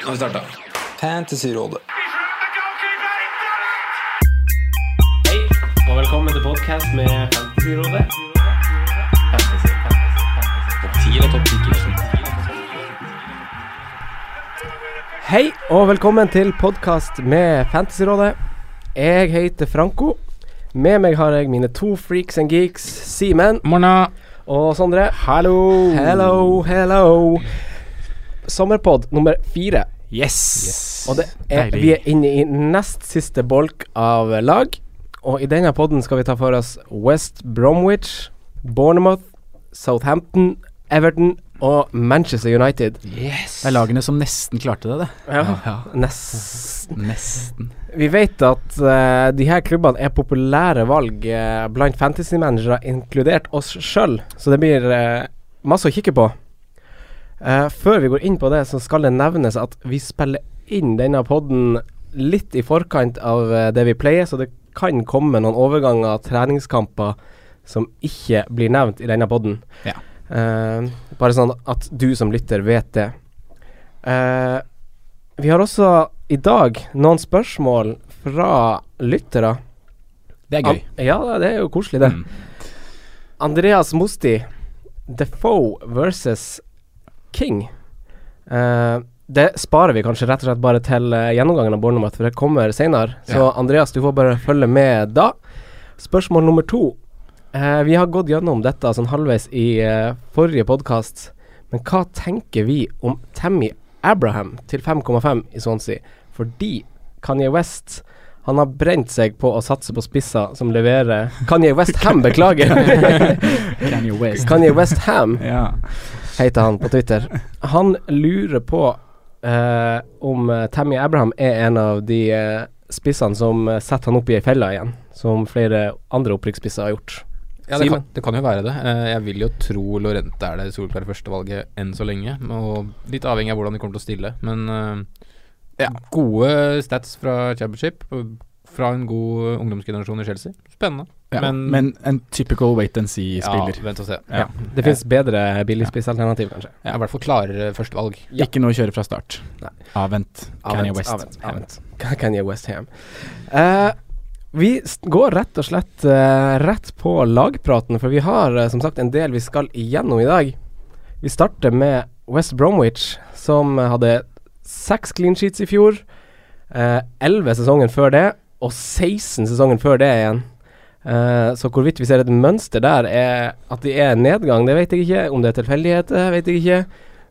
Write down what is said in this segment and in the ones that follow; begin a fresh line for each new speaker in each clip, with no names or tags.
Nå har vi starta.
Fantasyrådet.
Hei, og velkommen til podcast med Fantasyrådet. Hei, og velkommen til podcast med Fantasyrådet. Jeg heter Franco. Med meg har jeg mine to freaks and geeks, Simen
Morna.
og Sondre.
Hallo.
Hello, hello. Sommerpod nummer fire.
Yes.
Og det er,
Deilig.
vi er inne i nest siste bolk av lag. Og i denne podden skal vi ta for oss West Bromwich, Bournemouth, Southampton, Everton og Manchester United.
Yes.
Det er lagene som nesten klarte det, det. Ja.
Nest.
Nesten.
Vi vet at eh, de her klubbene er populære valg eh, blant fantasy-managere, inkludert oss sjøl, så det blir eh, masse å kikke på. Eh, før vi går inn på det, så skal det nevnes at vi spiller inn denne podden litt i forkant av eh, det vi pleier, så det kan komme noen overganger, treningskamper, som ikke blir nevnt i denne podden.
Ja.
Eh, bare sånn at du som lytter vet det. Eh, vi har også i dag noen spørsmål fra lyttere.
Det er gøy.
An- Ja, det er jo koselig, det.
Mm.
Andreas Mosti, Defoe versus King. Eh, det sparer vi kanskje rett og slett bare til eh, gjennomgangen av Bournemouth, for det kommer senere. Så
Ja.
Andreas, du får bare følge med da. Spørsmål nummer to. Eh, vi har gått gjennom dette sånn halvveis i eh, forrige podkast, men hva tenker vi om Tammy Abraham til 5,5 i Swansea? Fordi Kanye West han har brent seg på å satse på spisser som leverer Kanye West Ham, beklager!
Kanye West.
Kanye West Ham
Ja.
heter han på Twitter. Han lurer på eh, om eh, Tammy Abraham er en av de eh, spissene som eh, setter han opp i ei felle igjen, som flere andre opprykksspisser har gjort.
Ja, det, kan,
Simen?
det kan jo være det. Eh, Jeg vil jo tro Lorente er det soleklare førstevalget enn så lenge. Og litt avhengig av hvordan de kommer til å stille. Men eh, ja, gode stats fra championship. og Fra en god eh, ungdomsgenerasjon i Chelsea. Spennende.
Ja. Men,
Men-
en typical wait and see-spiller.
Ja, vent og se.
Ja.
Det fins bedre billigspissalternativ, kanskje.
Ja, I hvert fall eh, klarere førstevalg.
Ja.
Ikke noe å kjøre fra start.
Nei.
Avvent. Kanye West.
Avvent, avvent. Kanye West Ham. Eh, vi s- går rett og slett eh, rett på lagpraten, for vi har eh, som sagt en del vi skal igjennom i dag. Vi starter med West Bromwich, som eh, hadde seks clean sheets i fjor. eh, Elleve sesongen før det, og 16 sesongen før det igjen. Eh, så hvorvidt vi ser et mønster der, er at de er nedgang, det vet jeg ikke. Om det er tilfeldighet, det vet jeg ikke.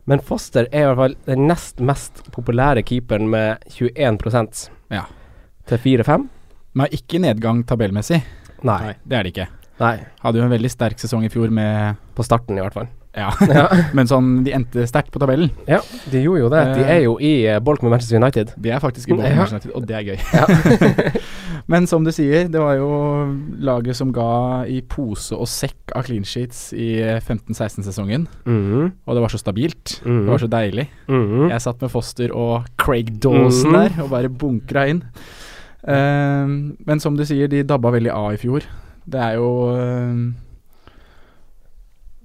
Men Foster er i hvert fall den nest mest populære keeperen med 21
Ja.
til 4-5.
Men ikke nedgang tabellmessig.
Nei. Nei.
Nei.
Det er det ikke. Hadde jo en veldig sterk sesong i fjor med
På starten, i hvert fall.
Ja.
Ja.
Men sånn, de endte sterkt på tabellen.
ja, de gjorde jo det. De er jo i eh, bolk med Manchester United.
De er faktisk i båten,
Ja.
Manchester United, og det er gøy. Men som du sier, det var jo laget som ga i pose og sekk av clean sheets i 15-16-sesongen.
Mhm,
Og det var så stabilt.
Mhm.
Det var så deilig.
mhm.
Jeg satt med Foster og Craig Dawson
Mhm.
der og bare bunkra inn. Ehm, men som du sier, de dabba veldig av i fjor. Det er jo ehm,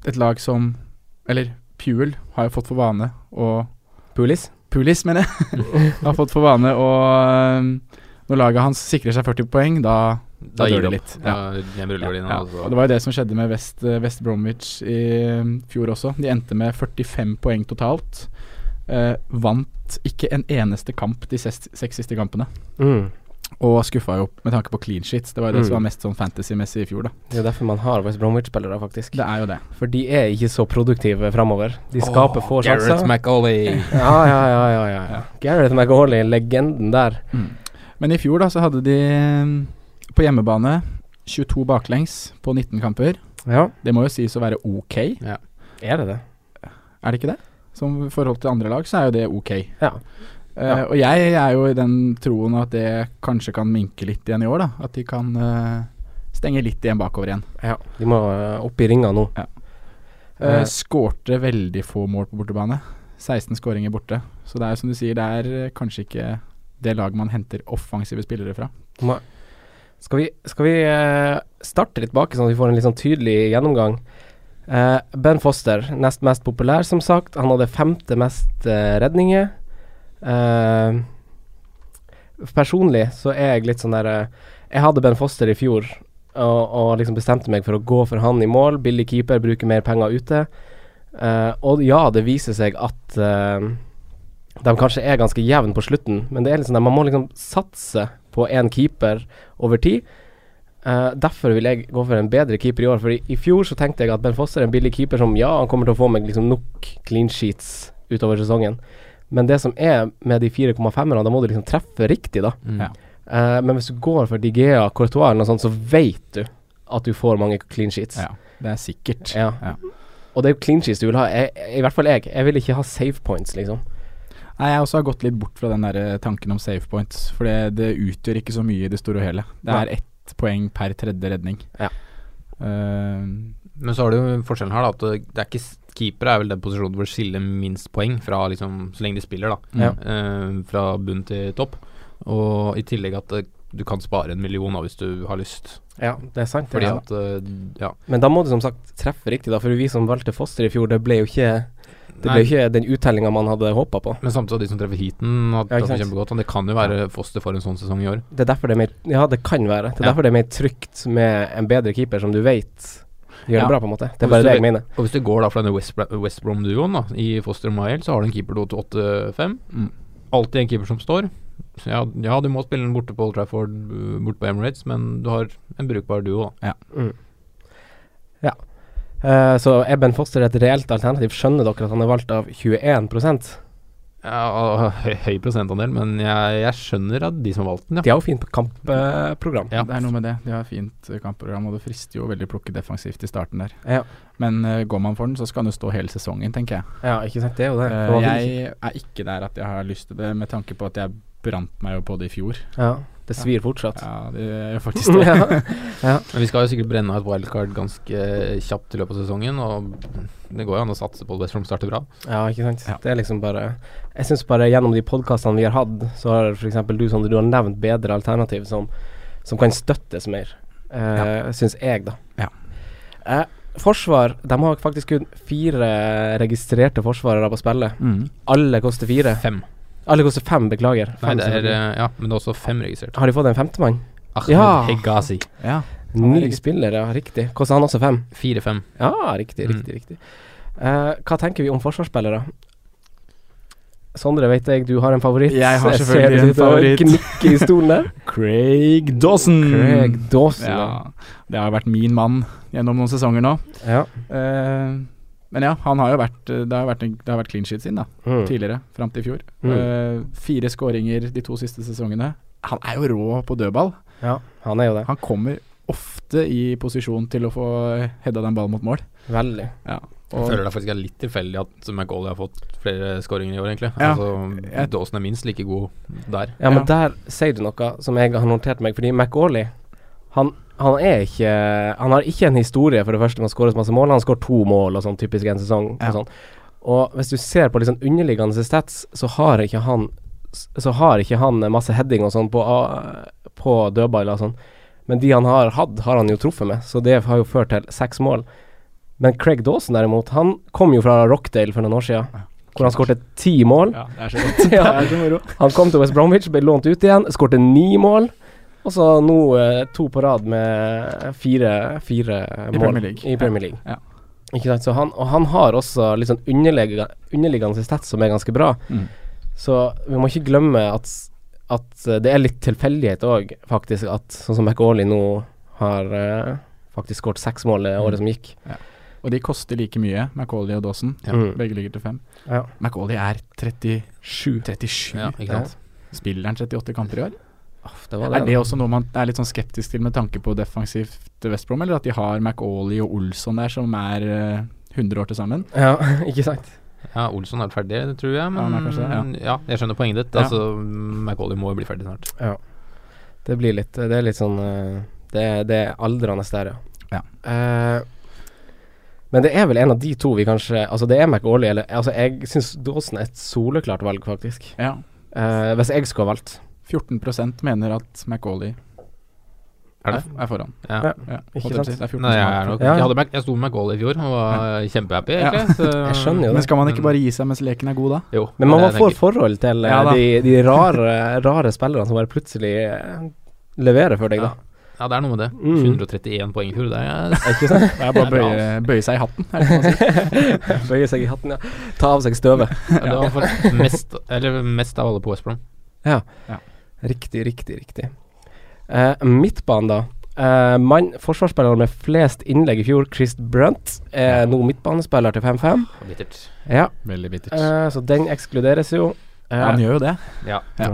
et lag som Eller Puel har jo fått for vane å
Pulis.
Pulis, mener jeg. har fått for vane å ehm, Når laget hans sikrer seg 40 poeng, da Da
gir
dør
opp.
det litt. Ja.
Da kommer rullegardina,
ja.
altså.
Og Det var jo det som skjedde med West, eh, West Bromwich i um, fjor også. De endte med 45 poeng totalt. Eh, vant ikke en eneste kamp de seks, seks siste kampene.
Mm.
Og skuffa jo med tanke på clean sheets. Det var jo det
Mm.
som var mest sånn fantasy-messig i fjor, da.
Det er jo derfor man har West Bromwich-spillere, faktisk.
Det er jo det.
For de er ikke så produktive framover. De skaper få
Gareth
sjanser.
McAuley.
Ja, ja, ja, ja, ja. ja. Gareth McAuley, legenden der.
Men i fjor da så hadde de um, på hjemmebane 22 baklengs på 19 kamper.
Ja,
Det må jo sies å være ok,
er det det?
er det ikke det? Som i forhold til andre lag, så er jo det ok.
Ja.
Eh,
Ja.
og jeg er jo i den troen at det kanskje kan minke litt igjen i år, da. At de kan eh, stenge litt igjen bakover igjen.
ja. De må eh, opp i ringa nå.
Eh,
Eh.
skårte veldig få mål på bortebane. 16 skåringer borte. Så det er som du sier, det er eh, kanskje ikke det laget man henter offensive spillere fra.
Nei. Skal vi, skal vi eh, starte litt bak, sånn at vi får en litt sånn tydelig gjennomgang? Eh, ben Foster, nest mest populær, som sagt. Han hadde femte mest eh, redninger. Eh, personlig så er jeg litt sånn der eh, Jeg hadde Ben Foster i fjor og, og liksom bestemte meg for å gå for han i mål. Billig keeper, bruke mer penger ute. Eh, og ja, det viser seg at eh, de kanskje er ganske jevne på slutten, men det er liksom der, man må liksom satse på én keeper over tid. Eh, derfor vil jeg gå for en bedre keeper i år, for i, i fjor så tenkte jeg at Ben Foster er en billig keeper som ja, han kommer til å få meg liksom nok clean sheets utover sesongen. Men det som er med de 4,5-erne, da må du liksom treffe riktig, da.
Mm.
Ja.
Eh, men hvis du går for Digea, Courtois eller noe sånt, så vet du at du får mange clean sheets.
Ja, det er sikkert.
Ja.
Ja.
Og det er jo clean sheets du vil ha, jeg, i hvert fall jeg. Jeg vil ikke ha save points, liksom.
Nei, jeg også har gått litt bort fra den der eh, tanken om save points, for det, det utgjør ikke så mye i det store og hele. Det
Nei.
er ett poeng per tredje redning.
Ja.
Eh,
Men så har du jo forskjellen her, da. At det- det er ikke s- Keepere er vel den posisjonen hvor det skiller minst poeng fra liksom, så lenge de spiller, da.
mm.
Ja.
Eh, fra bunn til topp. Og i tillegg at eh, du kan spare en million da, hvis du har lyst.
Ja, det er sant.
Fordi
ja.
at eh, Ja.
Men da må du som sagt treffe riktig, da. For vi som valgte Foster i fjor, det ble jo ikke, det
Nei,
ble jo ikke den uttellinga man hadde håpa på.
Men samtidig de som treffer heaten, har
Ja, ikke
tatt det
sant.
kjempegodt. Men det kan jo være foster for en sånn sesong i år.
Det er derfor det er mer Ja, det kan være. Det er
Ja.
derfor det er mer trygt med en bedre keeper som du vet gjør det
Ja.
bra, på en måte.
Og
Det er bare
hvis du
det jeg
vet-
mener.
Og hvis du går da fra denne West, Bra- West Brom-duoen da i Foster og Mael, så har du en keeper til 8-5.
Mm.
Alltid en keeper som står. Så ja, ja, du må spille den borte på Old Trafford, øh, borte på Emirates, men du har en brukbar duo. da.
Mm. Ja. Eh, så Ebben Foster er et reelt alternativ. Skjønner dere at han er valgt av 21
Ja, og høy, høy prosentandel, men jeg, jeg skjønner at de som har valgt den, ja.
De har jo fint eh, kampprogram.
Ja.
Det er noe med det. De har fint eh, kampprogram, og det frister jo veldig å plukke defensivt i starten der.
Ja.
Men eh, går man for den, så skal den jo stå hele sesongen, tenker jeg.
Ja, ikke sant. Det er jo det.
Eh,
For man vil ikke-
jeg er ikke der at jeg har lyst til det, med tanke på at jeg brant meg jo på det i fjor.
ja, det svir fortsatt.
Ja, det gjør faktisk det.
Ja.
Men vi skal jo sikkert brenne av et wildcard ganske kjapt i løpet av sesongen, og det går jo an å satse på at West Brom starter bra.
ja, ikke sant.
Ja.
Det er liksom bare Jeg syns bare gjennom de podkastene vi har hatt, så har f.eks. du, Sondre, du har nevnt bedre alternativ som, som kan støttes mer, uh, syns jeg, da.
Ja.
Eh, forsvar, de har faktisk kun fire registrerte forsvarere på spillet.
Mm.
Alle koster fire.
Fem.
Alle koster fem, beklager.
Nei,
Fem
det er,
selvfølgelig.
øh, ja, men det er også fem registrert. Ah,
Har de fått en femtemann?
Ahmed
Ja.
Hegazi.
Ja.
Ny
registrert.
spiller, ja. Riktig. Koster han også fem?
Fire-fem.
Ja, riktig,
Mm.
riktig, riktig. Eh, hva tenker vi om forsvarsspillere? Sondre, vet jeg du har en favoritt.
Jeg har
ser
selvfølgelig
du
en
sitter og
favoritt.
Gnikker i stolen der.
Craig Dawson.
Craig Dawson. Ja.
Ja, det har vært min mann gjennom noen sesonger nå.
ja.
Eh, men ja, han har jo vært eh, Det har vært, en- det har vært clean sheet sin, da.
Mm.
Tidligere, fram til i fjor.
Mm.
Eh, fire skåringer de to siste sesongene. Han er jo rå på dødball.
ja. Han er jo det.
Han kommer ofte i posisjon til å få heada den ballen mot mål.
Veldig.
Ja.
Jeg
Og
føler det faktisk er litt tilfeldig at McAuley har fått flere skåringer i år, egentlig.
Ja.
Altså,
Jeg-
Dawson er minst like god der.
Ja, men
Ja.
der sier du noe som jeg har notert meg, fordi McAuley han, han er ikke Han har ikke en historie, for det første, med å skåre så masse mål. Han skårer to mål og sånn, typisk en sesong.
Ja.
Og, sånn. og hvis du ser på liksom underliggende stats, så har ikke han Så har ikke han masse heading og sånn på, a- på dødballer og sånn. Men de han har hatt, har han jo truffet med, så det har jo ført til seks mål. Men Craig Dawson derimot, han kom jo fra Rockdale for noen år siden,
Ja.
hvor han skårte ti mål.
ja, det er så rått.
Ja.
Det er så moro.
Han kom til West Bromwich, ble lånt ut igjen, skårte ni mål. Og så nå eh, to på rad med fire, fire mål
Premier League.
i Premier League.
Ja.
Ikke sant? Så han, og han har også litt sånn underliggende, underliggende stats som er ganske bra.
Mm.
Så vi må ikke glemme at, at eh, det er litt tilfeldighet òg, faktisk, at sånn som McAuley nå har eh, faktisk skåret seks mål det året som gikk.
Og de koster like mye, Macauley og Dawson.
Ja.
Mm.
Begge ligger til fem.
Ja.
Macauley er 37. 37.
Ja, ikke sant?
Spiller han 38 kamper i år?
Aff, det var
Er
det.
det også noe man er litt sånn skeptisk til med tanke på defensivt West Brom, eller at de har McAuley og Olsson der som er eh, 100 år til sammen?
Ja, ikke sant.
Ja, Olsson er ferdig, det tror jeg, men
han
ja,
er kanskje det,
jeg skjønner poenget ditt.
Ja.
Altså, McAuley må jo bli ferdig snart.
Det blir litt Det er litt sånn eh, Det, er- det er aldrende der, ja.
Ja.
Eh, men det er vel en av de to vi kanskje Altså, det er McAuley eller Altså, jeg syns Dawson er et soleklart valg, faktisk.
Ja.
Eh, hvis jeg skulle ha valgt.
14 mener at McAuley
Er det?
er foran.
Ja.
Ja.
Ja,
Ikke
holdt jeg på å
sant?
si. Det er 14
Nei,
som
jeg,
har
er nok,
Ja.
jeg, hadde meg, jeg sto med goal i fjor og var kjempehappy,
Ja.
egentlig. Så,
Jeg skjønner jo
Men
det.
skal man ikke bare gi seg mens leken er god, da?
Jo,
Men man
det er
må
det
få
jeg tenker.
forhold til eh,
Ja da.
de, de rare, rare spillerne som bare plutselig eh, leverer for deg, da.
Ja, det er noe med det.
Mm.
131 poeng i fjor, det er
Ikke sant?
Det er
Det
bare å
er bra,
bøye, bøye seg i hatten. Er det ikke noe å si?
Bøye seg i hatten, ja. Ta av seg støvet.
Det var faktisk mest, eller mest av alle på West Brom.
Riktig, riktig, riktig. Eh, midtbanen, da. Eh, mann, forsvarsspilleren med flest innlegg i fjor, Chris Brunt, er nå midtbanespiller til 5-5.
Bittert.
Ja,
Veldig bittert.
eh, så den ekskluderes jo. Eh,
Ja, han gjør jo det.
Ja.
ja.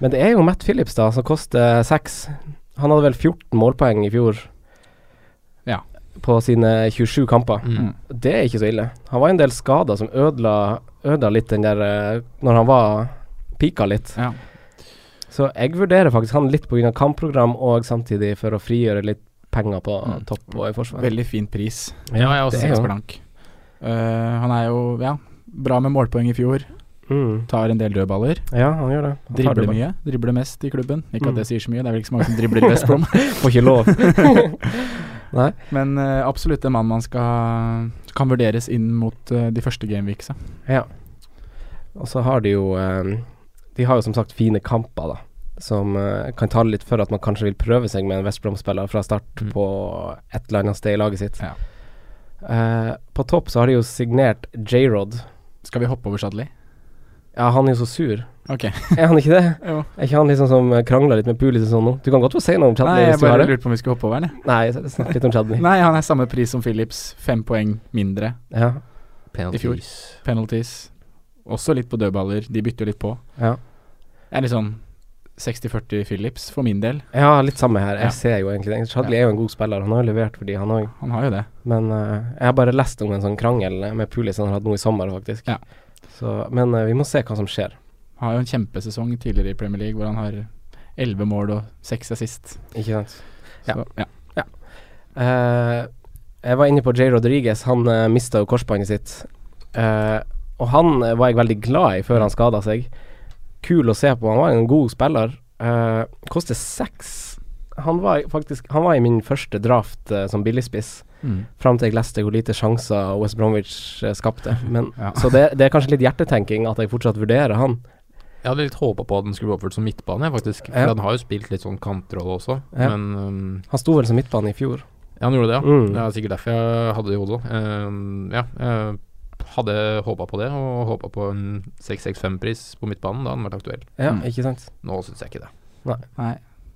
Men det er jo Matt Phillips, da, som koster seks. Han hadde vel 14 målpoeng i fjor.
Ja.
På sine 27 kamper.
Mm.
Det er ikke så ille. Han var en del skader som ødela, ødela litt den der eh, Når han var pika litt.
Ja.
Så jeg vurderer faktisk han litt pga. kampprogram og samtidig for å frigjøre litt penger på
Mm.
topp og i forsvar.
Veldig fin pris.
Ja, jeg også
det er
Seks
jo-
blank. Eh, han er jo ja, bra med målpoeng i fjor.
Mm.
Tar en del dødballer.
Ja, han gjør det. Han tar
Dribler
det
mye. Dribler mest i klubben. Ikke
Mm.
at det sier så mye, det er vel ikke så mange som dribler i West Brom.
bare. Får ikke lov.
Men eh, absolutt en mann man skal kan vurderes inn mot eh, de første gameweeksa.
ja. Og så har de jo eh, De har jo som sagt fine kamper, da. Som eh, kan tale litt for at man kanskje vil prøve seg med en West Brom-spiller fra start
Mm.
på et eller annet sted i laget sitt.
Ja.
Eh, på topp så har de jo signert J-Rod.
Skal vi hoppe over Shadley?
Ja, han er jo så sur.
Ok.
Er han ikke det?
Jo.
Er ikke han liksom som krangler litt med Pulis og sånn nå? Du kan godt få si noe om
Nei,
Chadley
jeg
hvis du har
bare
det.
lurte på om vi skulle hoppe over den, jeg.
Nei, så- snakk litt om Chadley.
Nei, han er samme pris som Phillips. Fem poeng mindre.
Ja,
Penalties.
I fjor. Penalties. Også litt på dødballer. De bytter jo litt på.
ja.
Jeg er litt sånn 60-40 Phillips for min del.
ja, litt samme her. Jeg
Ja.
ser jo egentlig det. Chadley er jo en god spiller. Han har jo levert for de, han òg.
Han har jo det.
Men eh, jeg har bare lest om en sånn krangel med Pulis han har hatt nå i sommer, faktisk.
Ja.
Så, men eh, vi må se hva som skjer.
Han har jo en kjempesesong tidligere i Premier League hvor han har 11 mål og 6 assist.
Ikke sant.
Så, ja.
Eh, jeg var inne på J. Rodriguez. Han uh, mista jo korsbåndet sitt. Eh, og han eh, var jeg veldig glad i før han skada seg. Kul å se på. Han var en god spiller. Uh, koster seks. Han var faktisk Han var i min første draft eh, som billigspiss.
Mm.
Fram til jeg leste hvor lite sjanser West Bromwich eh, skapte. Men,
Ja.
Så det, det er kanskje litt hjertetenking at jeg fortsatt vurderer han.
Jeg hadde litt håpa på at den skulle bli oppført som midtbane, faktisk. For
Ja.
han har jo spilt litt sånn kantrolle også,
Ja.
men um,
Han sto vel som midtbane i fjor.
ja, han gjorde det, ja.
Mm.
Det er sikkert derfor jeg hadde det i hodet òg. Um, ja, jeg hadde håpa på det, og håpa på en 665-pris på midtbanen. Da hadde han vært aktuell.
Ja,
Mm.
ikke sant.
Nå syns jeg ikke det.
Nei.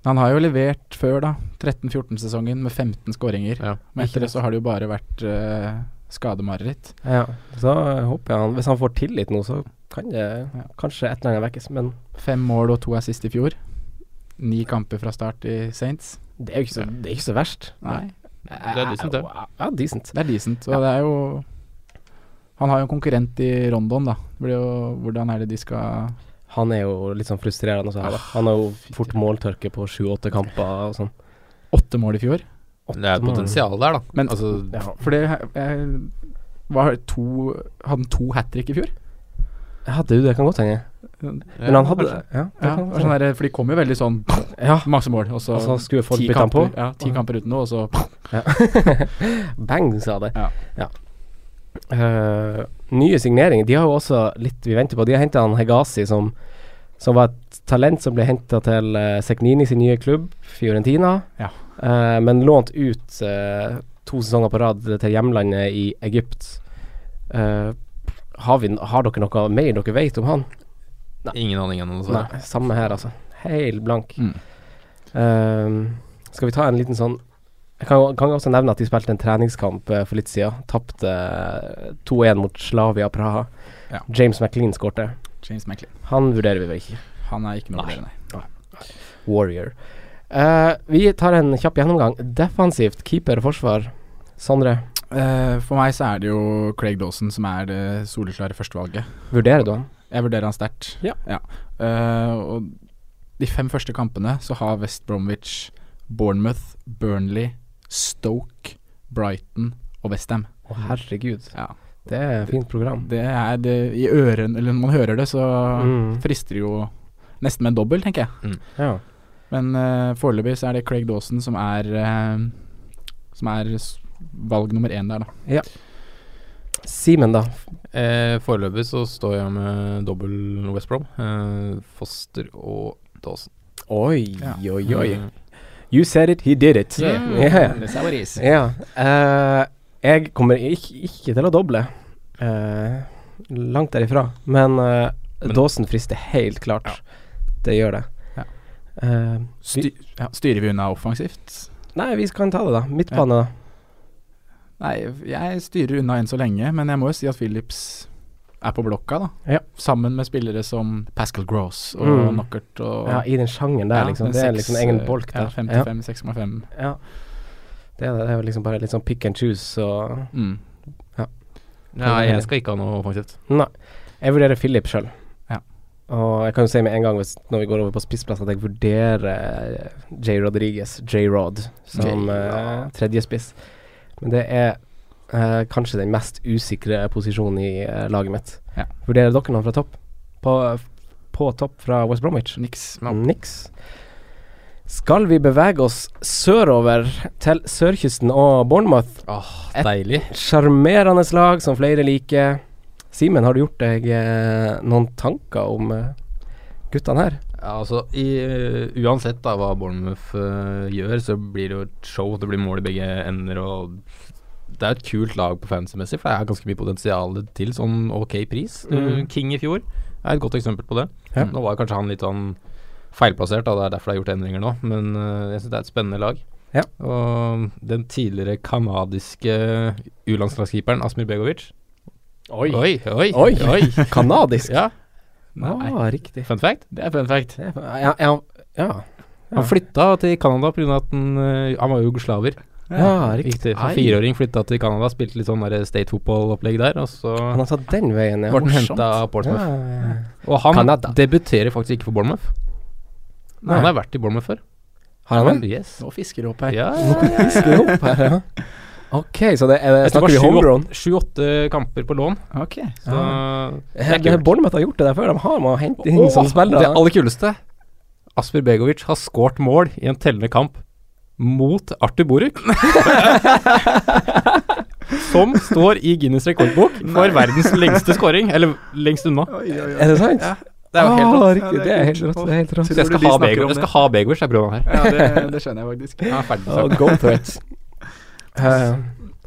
Han har jo levert før, da. 13-14-sesongen med 15 skåringer.
Ja.
Men etter det så har det jo bare vært eh, skademareritt.
Ja, så eh, håper jeg han Hvis han får tillit nå, så kan det
Ja.
kanskje et eller annet vekkes. Men
Fem mål og to assist i fjor. Ni kamper fra start i Saints.
det er jo ikke så, det er ikke så verst. Eh,
Nei,
Det er decent, det.
Ja, decent.
det er decent. Og det er jo Han har jo en konkurrent i Rondon, da. Det blir jo Hvordan er det de skal
Han er jo litt sånn frustrerende også her,
Ah,
da. Han har jo fort måltørke på sju-åtte kamper og sånn.
Åtte mål i fjor?
Det er
mål.
potensial der, da.
Men-
altså,
Ja.
For det jeg, var to Hadde han to hat trick i fjor?
Jeg hadde jo det, kan godt hende. Men han hadde Ja, det kan
Ja, det
godt
var sånn
hende.
der, for de kom jo veldig sånn
ja.
masse mål, og så,
Og så skulle folk
ti
bytte han Altså, på.
kamper- Ja, ti kamper uten noe, og så
Bang, sa det.
Ja.
Eh, nye signeringer. De har jo også litt vi venter på. De har henta han Hegazi, som, som var et talent som ble henta til eh, Seknini sin nye klubb, Fiorentina.
Ja.
Eh, men lånt ut eh, to sesonger på rad til hjemlandet i Egypt. Eh, har, vi, har dere noe mer dere vet om han?
ingen aning ennå,
Altså,
dessverre.
Nei, samme her, altså. Helt blank.
Mm.
Ehm, skal vi ta en liten sånn Jeg kan, jo- kan jo også nevne at de spilte en treningskamp eh, for litt siden. Tapte eh, 2-1 mot Slavia Praha.
Ja.
James McLean skårte.
James Macklin.
Han vurderer vi vel ikke.
Han er ikke noe
Nei.
bedre, nei.
Warrior. Eh, vi tar en kjapp gjennomgang. Defensivt, keeper, forsvar. Sondre,
Eh, for meg så er det jo Craig Dawson som er det soleklare førstevalget.
vurderer du han?
Jeg vurderer han sterkt.
Ja.
Eh, og de fem første kampene så har West Bromwich, Bournemouth, Burnley, Stoke, Brighton og Westham.
Å, herregud.
Ja.
Det er et fint program.
Det er det i øren Eller når man hører det, så
Mm.
frister det jo nesten med en dobbel, tenker jeg.
Ja.
Men eh, foreløpig så er det Craig Dawson som er eh, Som er s- valg nummer én der, da.
Simen, da.
Eh, Foreløpig så står jeg med dobbel West Brom. Eh, Foster og Dawson. Eh,
Oi,
Ja. Mm.
oi, oi. You said it, he did it.
Yeah.
Mm. Yeah.
That's how it is.
Ja. eh, jeg kommer ikke, ikke til å doble. Eh, langt derifra. Men, uh,
Men-
Dåsen frister helt klart. Det gjør det.
Ja.
Eh,
Sty ja. Styrer vi unna offensivt?
nei, vi kan ta det, da. Midtbane, da.
Nei, jeg styrer unna enn så lenge, men jeg må jo si at Phillips er på blokka, da.
Ja.
Sammen med spillere som Pascal Gross og
Mm.
Knockert og
Ja, I den sjangeren der,
Ja,
liksom.
men
Det er
seks,
liksom egen
eh,
bolk
Ja,
der.
55, 6,5.
Ja, ja. Det er det. Det er jo liksom bare litt sånn pick and choose og
Mm.
Nei, jeg skal ikke ha noe offensivt.
Nei. Jeg vurderer Philip sjøl.
Ja.
Og jeg kan jo si med en gang hvis, når vi går over på spissplass, at jeg vurderer eh, J. Rodriguez, J. Rod, som
J-Rod.
uh, tredje spiss. Men det er eh, kanskje den mest usikre posisjonen i eh, laget mitt.
Ja.
Vurderer dere noen fra topp? På, på topp fra West Bromwich?
Niks.
Niks. Skal vi bevege oss sørover til sørkysten og Bournemouth? Et-
Deilig.
Sjarmerende lag som flere liker. Simen, har du gjort deg eh, noen tanker om eh, guttene her?
Ja, altså, i, eh, uansett da hva Bournemouth eh, gjør, så blir det jo et show. Det blir mål i begge ender. og Det er et kult lag på fancy-messig, for det er ganske mye potensial til sånn ok pris. Du,
Mm.
King i fjor er et godt eksempel på det.
Ja.
Mm.
Nå var kanskje han litt sånn feilplassert, da. det er derfor det er gjort endringer nå. Men eh, jeg syns det er et spennende lag.
Ja.
Og den tidligere kanadiske U-landslagskeeperen Asmir Begovic Oi, oi, oi!
Oi. Kanadisk?
Ja,
Nei.
Ah, riktig.
fun fact.
Det er fun fact.
Det er, ja, ja, ja.
Han flytta til Canada pga. at han, eh, han var jugoslaver.
ja, riktig.
Riktig. Som
Ai.
fireåring flytta til Canada, spilte litt sånn der state football-opplegg der, og så
Han har tatt den veien, ja.
ble han
morsomt.
henta av
ja,
Portsmouth.
ja, ja.
Og han
Canada.
debuterer faktisk ikke for Bournemouth.
Nei.
Han har vært i Bournemouth før.
Har han den?
Yes.
Nå fisker du opp her.
Ja,
Fisker du opp her, ja. Ok, så det er,
Jeg tror
snakker
det var
vi
sju-
homegrown?
Sju-åtte kamper på lån.
Ok.
Så det
Eh,
er
det er
kult.
Bournemouth har gjort det der før. De har med å hente inn
Åh,
sånne spillere.
Det aller kuleste Asper Begovic har skåret mål i en tellende kamp mot Arthur Boruk. som står i Guinness rekordbok for verdens lengste skåring. Eller lengst unna.
er det sant?
Ja.
Det er jo helt
ah,
rått.
Riktig.
Ja, det er
det er helt
kult.
rått. Det er helt rått.
Så jeg skal
Tror du de
ha
snakker
Begovic,
om
jeg skal ha Begovic, jeg prøver den her.
Ja, det, det skjønner jeg faktisk.
Ja, ferdig
Oh,
snakka.
go for it. Eh,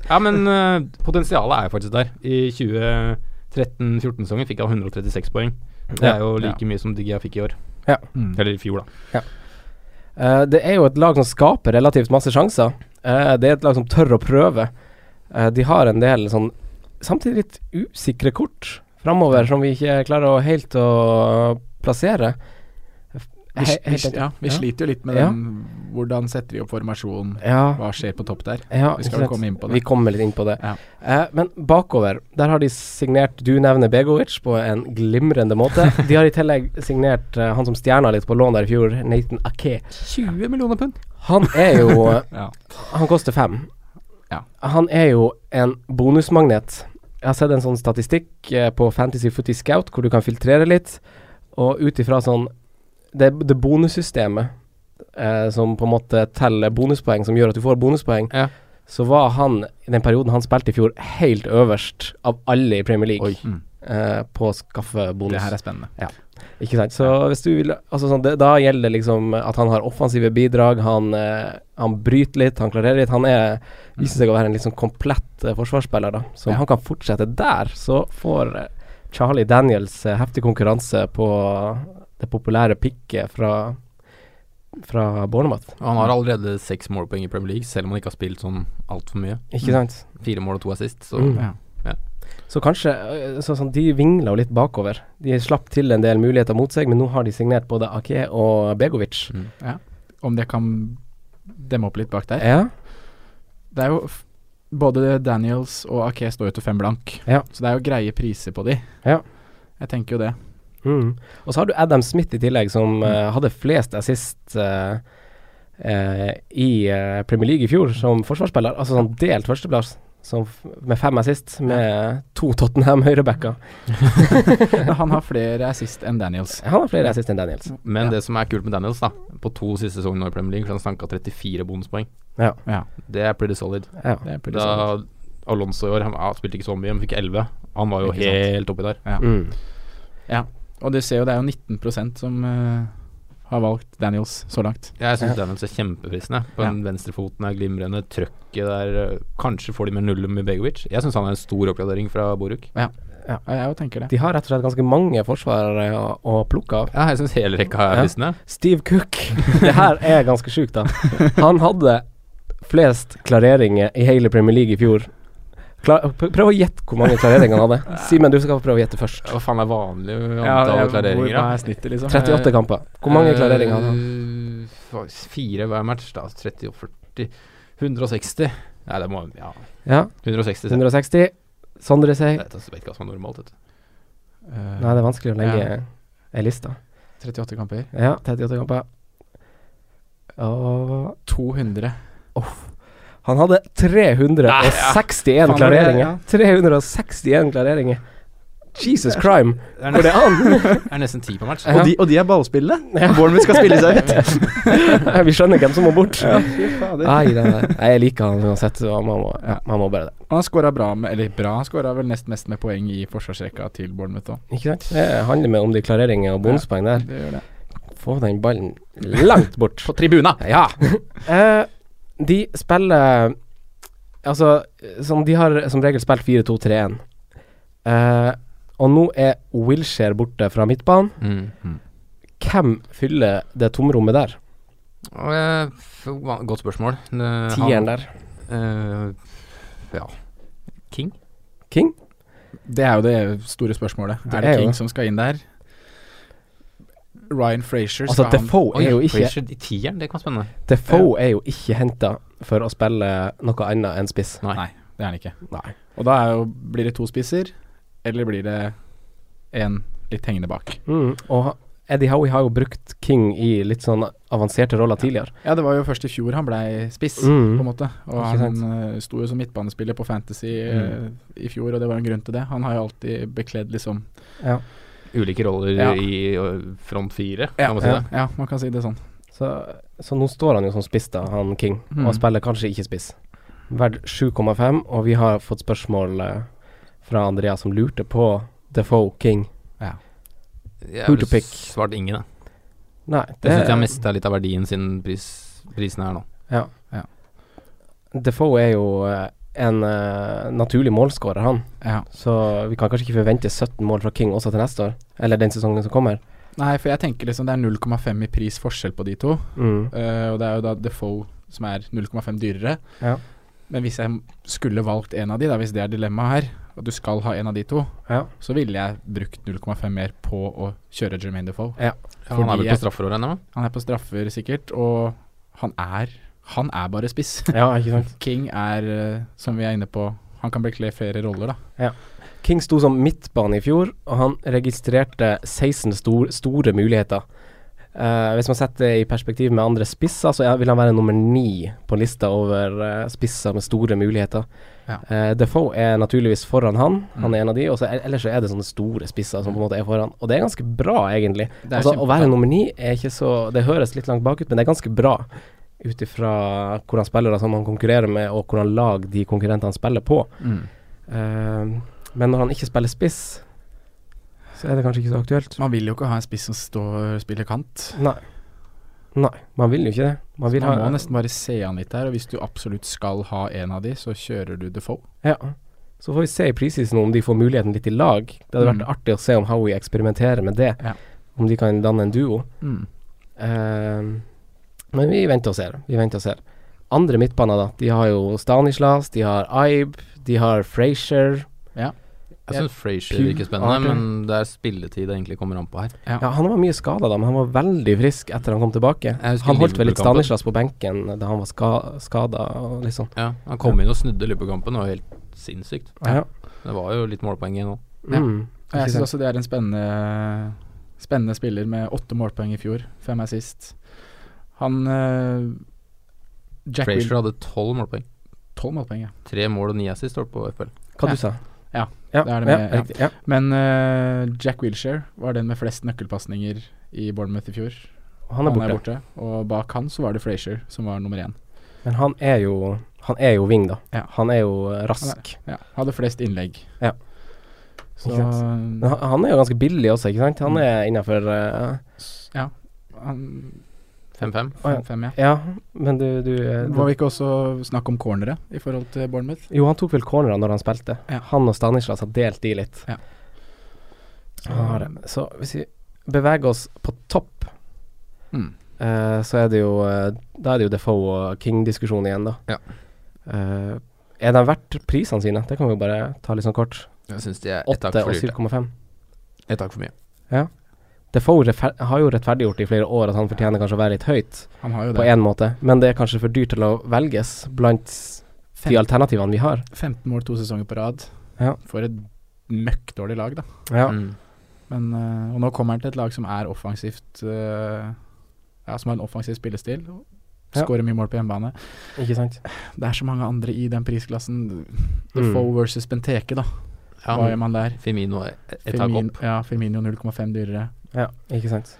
Ja, men eh, potensialet er jo faktisk der. I 2013-14-sesongen fikk han 136 poeng. Det er jo like mye som Digea fikk i år.
Mm.
Eller i fjor, da.
Eh, det er jo et lag som skaper relativt masse sjanser. Eh, det er et lag som tør å prøve. Eh, de har en del sånn samtidig litt usikre kort framover som vi ikke klarer å helt å plassere.
Vi,
He-
vi,
helt enkelt.
ja, vi
Ja.
sliter jo litt med
Ja.
den. Hvordan setter de opp formasjon?
Ja,
Hva skjer på topp der?
ja,
Vi
ikke
skal vel
sant.
komme inn på
Vi
det.
kommer litt inn på det.
Ja.
Eh, men bakover, der har de signert Du nevner Begovic på en glimrende måte. De har i tillegg signert eh, han som stjerna litt på lån der i fjor, Nathan Ake.
20 millioner pund.
Han er jo
Ja.
Han koster fem.
Ja.
Han er jo en bonusmagnet. Jeg har sett en sånn statistikk eh, på Fantasy Footy Scout hvor du kan filtrere litt, og ut ifra sånn Det, det bonussystemet eh, som på en måte teller bonuspoeng, som gjør at du får bonuspoeng,
Ja.
så var han, i den perioden han spilte i fjor, helt øverst av alle i Premier League
Mm.
eh, på å skaffe bonus.
Det her er spennende.
Ikke sant. Så hvis du vil Altså sånn, det, da gjelder det liksom at han har offensive bidrag, han, eh, han bryter litt, han klarerer litt. Han er, viser seg å være en litt sånn komplett eh, forsvarsspiller, da. Så om
Ja.
han kan fortsette der, så får eh, Charlie Daniels eh, heftig konkurranse på det populære pikket fra fra Bournemouth,
Og han har allerede seks målpoeng i Premier League, selv om han ikke har spilt sånn altfor mye.
ikke sant?
Fire mål og to assist, så
Mm.
Mm. Ja.
Så kanskje eh, så, sånn, De vingla jo litt bakover. De slapp til en del muligheter mot seg, men nå har de signert både Ake og Begovic.
Mm.
Om det kan demme opp litt bak der.
Ja.
Det er jo f Både Daniels og Ake står jo til fem blank,
Ja.
så det er jo greie priser på de.
Ja.
Jeg tenker jo det.
Mm. Og så har du Adam Smith i tillegg, som eh, hadde flest assist eh, eh, i eh, Premier League i fjor som forsvarsspiller. Altså sånn delt førsteplass. som f med fem assist, med to Tottenham høyrebacker.
Han har flere assist enn Daniels.
Han har flere assist enn Daniels.
Men
Ja.
det som er kult med Daniels, da på to siste sesonger nå i Premier League, så har han stanka 34 bonuspoeng.
Ja.
Ja,
Det er pretty solid.
Ja.
det er pretty solid.
Da Alonso i år Han ja, spilte ikke så mye, men fikk 11. Han var jo
Ikke sant.
helt oppi der.
Ja.
Mm.
Og du ser jo det er jo 19 som eh, har valgt Daniels så langt.
Jeg syns Daniels er kjempefristende. På
Ja.
den venstrefoten er glimrende. Trøkket der eh, Kanskje får de med null med Begovic. Jeg syns han er en stor oppgradering fra Boruk.
Ja, jeg jo tenker det.
De har rett og slett ganske mange forsvarere å, å plukke av.
Ja, jeg syns hele rekka er
Ja.
fristende.
Steve Cook. det her er ganske sjukt, da. Han hadde flest klareringer i hele Premier League i fjor. Klar, pr- prøv å gjette hvor mange klareringer han hadde. Simen, du skal få prøve å gjette først.
Hva faen er vanlig antall
jeg-
klareringer?
Hvor hva
da?
er snittet, liksom?
38 kamper. Hvor mange
Eh,
klareringer hadde han?
fa- Eh, Fire hver match, da. 30 og 40. 160. Nei, det må Ja,
Ja,
160. sier jeg.
160. Sondre sier
altså, Jeg vet ikke hva som er normalt. Vet du.
Eh,
Nei, det er vanskelig å legge
Ja.
ei liste.
38 kamper.
Ja, 38 kamper. Og
200.
Han hadde 361
Faen,
klareringer.
var
361 klareringer. Jesus crime, går det an?
Det er nesten ti på match.
Ja. Og
de, er ballspillene? Bournemouth skal spille seg ut.
Vi skjønner hvem som må bort.
Fy fader.
Nei, nei, nei. Nei, jeg liker han uansett. så Man må, ja, man må bare det.
Og han skåra bra med Eller bra, han skåra vel nest mest med poeng i forsvarsrekka til Bournemouth òg.
Ikke sant? Det handler med om de klareringer og bonuspoeng der.
Det gjør det.
Få den ballen langt bort.
På tribuna!
Ja. Eh, de spiller Altså, som de har som regel spilt 4-2-3-1. Eh, og nå er Wilshere borte fra midtbanen.
Mm,
Hvem fyller det tomrommet der?
Og, eh, f- va- godt spørsmål. Eh,
Tieren der.
han, eh, ja. King?
King?
Det er jo det store spørsmålet.
Det
er det
er jo
King
det.
som skal inn der? Ryan Frazier
Altså,
skal han
Defoe er jo ikke,
Frazier i tieren, det kan være spennende.
Defoe er jo ikke henta for å spille noe annet enn spiss.
Nei.
Nei, det er han ikke.
Nei.
Og da er jo, blir det to spisser, eller blir det en litt hengende bak?
Mm, og ha- Eddie Howie har jo brukt King i litt sånn avanserte roller tidligere.
Ja, det var jo først i fjor han blei spiss,
Mm.
på en måte. Og
Ikke
han eh, sto jo som midtbanespiller på Fantasy eh, i fjor, og det var en grunn til det. Han har jo alltid bekledd liksom
Ja.
Ulike roller
Ja.
i ø, front fire,
ja,
kan man si det.
ja, man kan si det sånn.
Så, så nå står han jo som spiss, da, han King,
Mm.
og spiller kanskje ikke spiss. Verdt 7,5, og vi har fått spørsmål eh, fra Andrea som lurte på Defoe King.
Jeg
Who to
ville
pick?
svart ingen, da.
Nei,
Det syns jeg mista litt av verdien siden pris, prisen er nå.
Defoe er jo eh, en eh, naturlig målskårer, han.
Ja.
Så vi kan kanskje ikke forvente 17 mål fra King også til neste år, eller den sesongen som kommer.
Nei, for jeg tenker liksom det er 0,5 i pris forskjell på de to.
Mm.
Eh, og det er jo da Defoe som er 0,5 dyrere.
Ja.
Men hvis jeg skulle valgt en av de, da, hvis det er dilemmaet her, at du skal ha en av de to,
Ja.
så ville jeg brukt 0,5 mer på å kjøre Jermaine Defoe.
Ja, han er
Fordi
vel
jeg-
på strafferåret ennå?
Han er på straffer sikkert, og han er Han er bare spiss.
ja, ikke sant.
King er, eh, som vi er inne på, han kan bekle flere roller, da.
King sto som midtbane i fjor, og han registrerte 16 stor, store muligheter. Eh, hvis man setter det i perspektiv med andre spisser, så er- vil han være nummer ni på lista over eh, spisser med store muligheter.
Ja.
Eh, Defoe er naturligvis foran han, han
Mm.
er en av de, og så, ellers så er det sånne store spisser som på en måte er foran. Og det er ganske bra, egentlig.
Det er
Altså, å
kjempebra.
være nummer ni er ikke så Det høres litt langt bakut, men det er ganske bra ut ifra hvordan spillere som han konkurrerer med, og hvordan lag de konkurrentene spiller på.
Mm.
Ehm, men når han ikke spiller spiss, så er det kanskje ikke så aktuelt.
Man vil jo ikke ha en spiss som står, spiller kant.
Nei. Nei, man vil jo ikke det. Man vil
Man
ha
må nesten bare se han litt der, og hvis du absolutt skal ha en av de, så kjører du Defoe.
Ja. Så får vi se i preseason om de får muligheten litt i lag. Det hadde vært
Mm.
artig å se om Howie eksperimenterer med det.
Ja.
Om de kan danne en duo.
Mm.
Ehm, men vi venter og ser. Vi venter og ser. Andre midtbaner, da. De har jo Stanislas, de har Aib, de har Frazier.
Jeg
Ja.
syns Frazier
Pugh
virker spennende,
Arthur.
men det er spilletid det egentlig kommer an på her.
Ja, han var mye skada da, men han var veldig frisk etter han kom tilbake.
Jeg husker
Han holdt vel litt
Liverpool-kampen.
Stanislas på benken da han var ska skada og litt sånn.
Ja, han kom inn og snudde Liverpool-kampen, det var helt sinnssykt.
Ja.
Det var jo litt målpoeng igjen nå.
Ja.
Mm.
Og
Ikke
Jeg syns
sant?
også det er en spennende, spennende spiller med åtte målpoeng i fjor, fem er sist. Han eh, Jack Wil-
Frazier hadde tolv målpoeng.
Tolv målpoeng, ja.
Tre mål og ni assist står det på FL.
Hva
Ja.
du sa
Ja,
ja,
det er det med-
ja,
ja.
riktig, ja.
Men eh, Jack Wilshere var den med flest nøkkelpasninger i Bournemouth i fjor.
Og Han er borte.
Og bak han så var det Frazier som var nummer én.
Men han er jo Han er jo wing, da.
Ja.
Han er jo eh, rask.
Ja, hadde flest innlegg.
Ja.
Så eh,
Ikke Men han, han er jo ganske billig også, ikke sant? Han er eh, innafor
s- Ja. Han,
5-5.
Å, ja.
fem, fem, ja.
Ja, men du, du, eh,
Var vi ikke også snakk om cornere i forhold til Bournemouth?
Jo, han tok vel cornera når han spilte.
Ja.
Han og Stanislas har delt de litt.
Ja.
Han har det. Så hvis vi beveger oss på topp,
Mm.
eh, så er det jo eh, Da er det jo Defoe og King-diskusjon igjen, da.
Ja.
Eh, er de verdt prisene sine? Det kan vi jo bare ta litt sånn kort.
Jeg syns de er ett
8
tak Eh, for
og
dyrt.
7,5.
Ett tak for mye.
Defoe rettfer- har jo rettferdiggjort i flere år at han fortjener kanskje å være litt høyt,
Han har jo
på
det.
én måte, men det er kanskje for dyrt til å velges blant s- de
Fem,
alternativene vi har.
15 mål to sesonger på rad.
Ja.
For et møkkdårlig lag, da.
Ja.
Mm.
Men, eh, og nå kommer han til et lag som er offensivt eh, Ja, som har en offensiv spillestil. og
Ja.
Skårer mye mål på hjemmebane.
Ikke sant?
Det er så mange andre i den prisklassen.
Mm.
Defoe versus Benteke, da.
Ja,
Hva gjør man der?
Firmino er ett tak
Firmin,
opp.
ja, Firmino 0,5 dyrere.
Ja, ikke sant.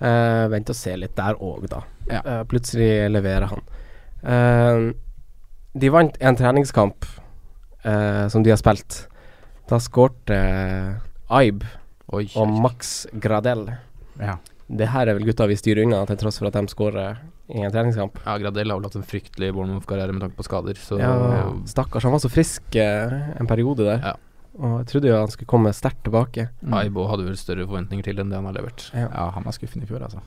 Eh, vent og se litt der òg, da.
Ja.
Eh, plutselig leverer han. Eh, de vant en treningskamp eh, som de har spilt. Da skårte eh, Aib
Oi.
og Max Gradel.
Ja.
Det her er vel gutta vi styrer unna, til tross for at de skårer i en treningskamp.
Ja, Gradel har vel hatt en fryktelig Bournemouth-karriere med tanke på skader, så eh,
Ja, stakkars. Han var så frisk eh, en periode der.
Ja.
Og jeg trodde jo han skulle komme sterkt tilbake.
Aibo hadde vel større forventninger til enn det han har levert.
Ja, han var skuffende i fjor, altså.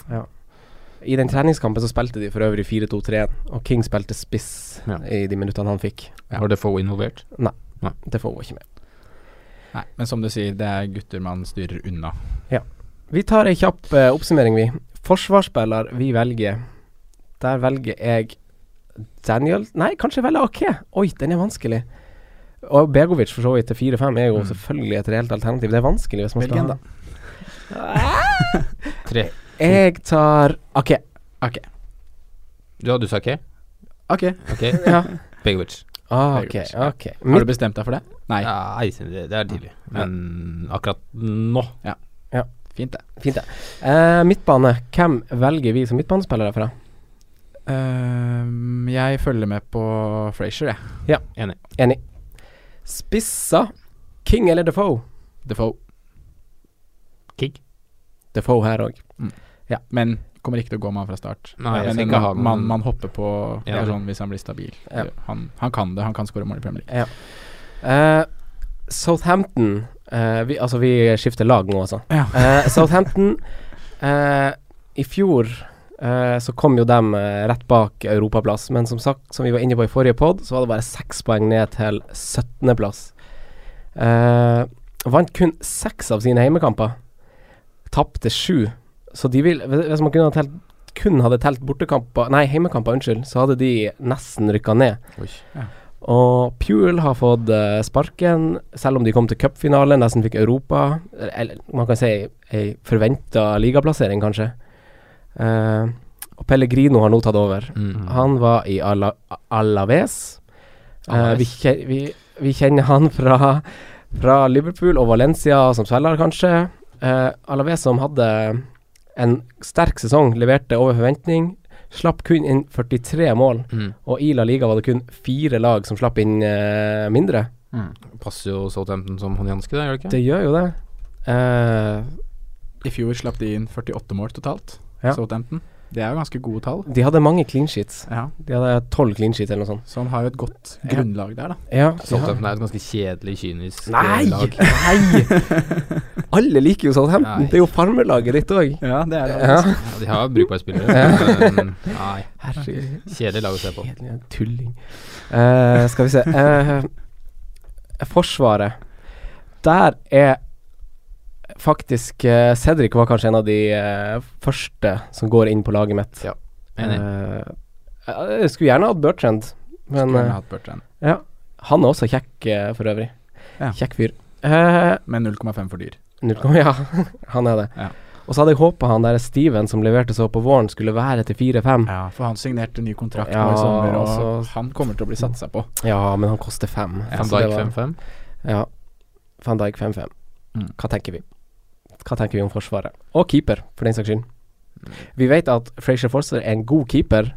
I den treningskampen så spilte de for øvrig 4-2-3-1, og King spilte spiss
Ja.
i de minuttene han fikk.
Ja.
Var det få involvert?
Det får hun ikke med.
Nei, men som du sier, det er gutter man styrer unna.
Vi tar ei kjapp eh, oppsummering, vi. Forsvarsspiller vi velger. Der velger jeg Daniel Nei, kanskje jeg velger Ake. Oi, den er vanskelig. Og Begovic for så vidt til 4-5 er jo
Mm.
selvfølgelig et reelt alternativ. Det er vanskelig hvis man
Velg en,
skal
da.
Tre.
Jeg tar Ake.
Du hadde sagt ok?
Ok.
Ok,
Ja.
Begovic.
Ah, Ok,
Begovic, ja.
ok.
Har du
Mitt,
bestemt deg for det? Nei.
Nei, det det er tidlig. Men akkurat nå
Fint, det.
fint, det. Eh, midtbane. Hvem velger vi som midtbanespillere fra?
Ehm, jeg følger med på Frazier, jeg.
Enig.
Enig. Spissa King eller Defoe?
Defoe.
Kick?
Defoe her òg.
Men kommer ikke til å gå med han fra start.
Nei, jeg
men
skal
en
ikke ha noen-
mann man hopper på
Ja.
person hvis han blir stabil.
Ja.
Han, han kan det, han kan skåre mål i Premier League.
Eh, Southampton eh, vi, Altså, vi skifter lag nå, altså.
Ja.
Eh, Southampton eh, I fjor eh, så kom jo dem eh, rett bak europaplass, men som sagt, som vi var inne på i forrige pod, så var det bare seks poeng ned til 17.-plass. Eh, vant kun seks av sine heimekamper. Tapte sju. Så de vil Hvis man kunne ha telt kun hadde telt bortekamper Nei, heimekamper, unnskyld, så hadde de nesten rykka ned.
Oi.
Og Puel har fått eh, sparken, selv om de kom til cupfinalen, nesten fikk Europa. Eller man kan si ei forventa ligaplassering, kanskje. Eh, og Pellegrino har nå tatt over.
Mm.
Han var i Ala Alaves. Eh,
Alaves.
vi, kje- vi, vi kjenner han fra, fra Liverpool og Valencia som spiller, kanskje. Eh, Alaves som hadde en sterk sesong, leverte over forventning. Slapp kun inn 43 mål.
Mm.
Og i La Liga var det kun fire lag som slapp inn eh, mindre.
Passer jo Southampton som hånd i hanske, det, gjør det ikke?
Det gjør jo det. Eh,
I fjor slapp de inn 48 mål totalt,
Ja.
Southampton. Det er jo ganske gode tall.
de hadde mange clean sheets.
Ja.
De hadde tolv clean sheets eller noe sånt.
Så han har jo et godt
Ja.
grunnlag der, da.
Ja, de har-
Southampton er et ganske kjedelig, kynisk eh,
Nei!
lag.
Nei! Alle liker jo Southampton.
Nei.
Det er jo farmerlaget ditt òg.
Ja, det er
Ja.
Ja, de har brukbare spillere, men nei.
Herregud.
Kjedelig lag å se på.
Kjedelig, tulling. Eh, skal vi se eh, Forsvaret. Der er faktisk eh, Cedric var kanskje en av de eh, første som går inn på laget mitt.
Enig.
Eh, jeg skulle gjerne hatt Bertrand, men
Men,
eh, han er også kjekk eh, for øvrig.
Ja.
Kjekk fyr. Eh,
men 0,5 for dyr.
Null komma, ja, han er det.
Ja.
Og så hadde jeg håpa han der Steven som leverte så på våren, skulle være til 4-5.
Ja, for han signerte ny kontrakt
Ja,
nå i sommer, og
altså-
han kommer til å bli satsa på.
Ja, men han koster 5.
Van Dijk 5-5.
Ja. Van Dijk 5-5.
Mm.
Hva tenker vi? Hva tenker vi om Forsvaret? Og keeper, for den saks skyld.
Mm.
Vi vet at Frazier Forster er en god keeper.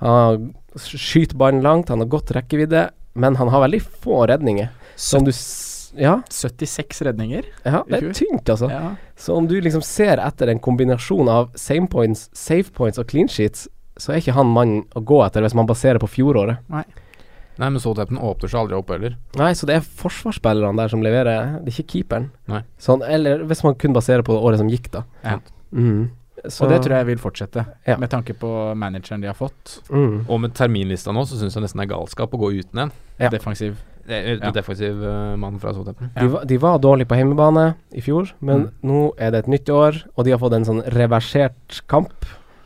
Han har- skyter ballen langt, han har godt rekkevidde, men han har veldig få redninger. Så om du s ja,
76 redninger.
ja, det
I
er
fjor.
tynt, altså.
Ja.
Så om du liksom ser etter en kombinasjon av same points, save points og clean sheets, så er ikke han mannen å gå etter hvis man baserer på fjoråret.
Nei, men Southampton åpner seg aldri opp heller.
Nei, så det er forsvarsspillerne der som leverer, det er ikke keeperen.
Nei.
Sånn, eller hvis man kun baserer på året som gikk, da.
Ja.
Mm. Så,
Og det tror jeg vil fortsette,
Ja.
med tanke på manageren de har fått.
mm.
Og med terminlista nå, så syns jeg nesten det er galskap å gå uten en.
Ja.
Defensiv.
Det er en
Ja.
defensiv eh, mann fra Southampton.
de, var, de var dårlige på hjemmebane i fjor, men
Mm.
nå er det et nytt år, og de har fått en sånn reversert kamp.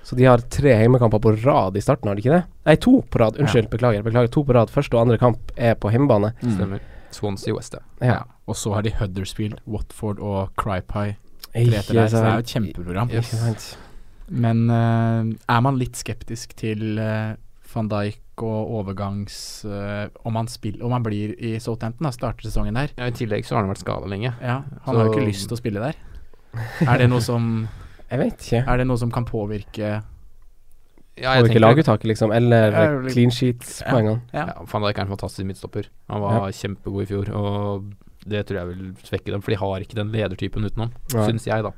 Så de har tre heimekamper på rad i starten, har de ikke det? Nei, to på rad. Unnskyld, beklager. beklager To på rad. Første og andre kamp er på hjemmebane.
Mm.
Stemmer. Swansea West, ja.
Ja. Og så har de Huddersfield, Watford og Crypie.
Ikke
Så det er jo
sant.
et kjempeprogram.
Yes.
Ikke sant.
Men eh, er man litt skeptisk til eh, van Dijk og overgangs... eh, om, han spill, om han blir i Southampton, da, starter sesongen der.
ja. I tillegg så har han vært skada lenge.
Ja, han
Så-
har jo ikke lyst til å spille der. Er det noe som,
Jeg vet ikke.
er det noe som kan påvirke
Ja,
Får vi ikke
tenker-
laguttaket, liksom? Eller
Ja, vel-
clean sheets-poengene?
Ja, Van Dijk er en fantastisk midtstopper. Han var kjempegod i fjor, og det tror jeg vil svekke dem. For de har ikke den ledertypen utenom,
Nei.
syns jeg, da.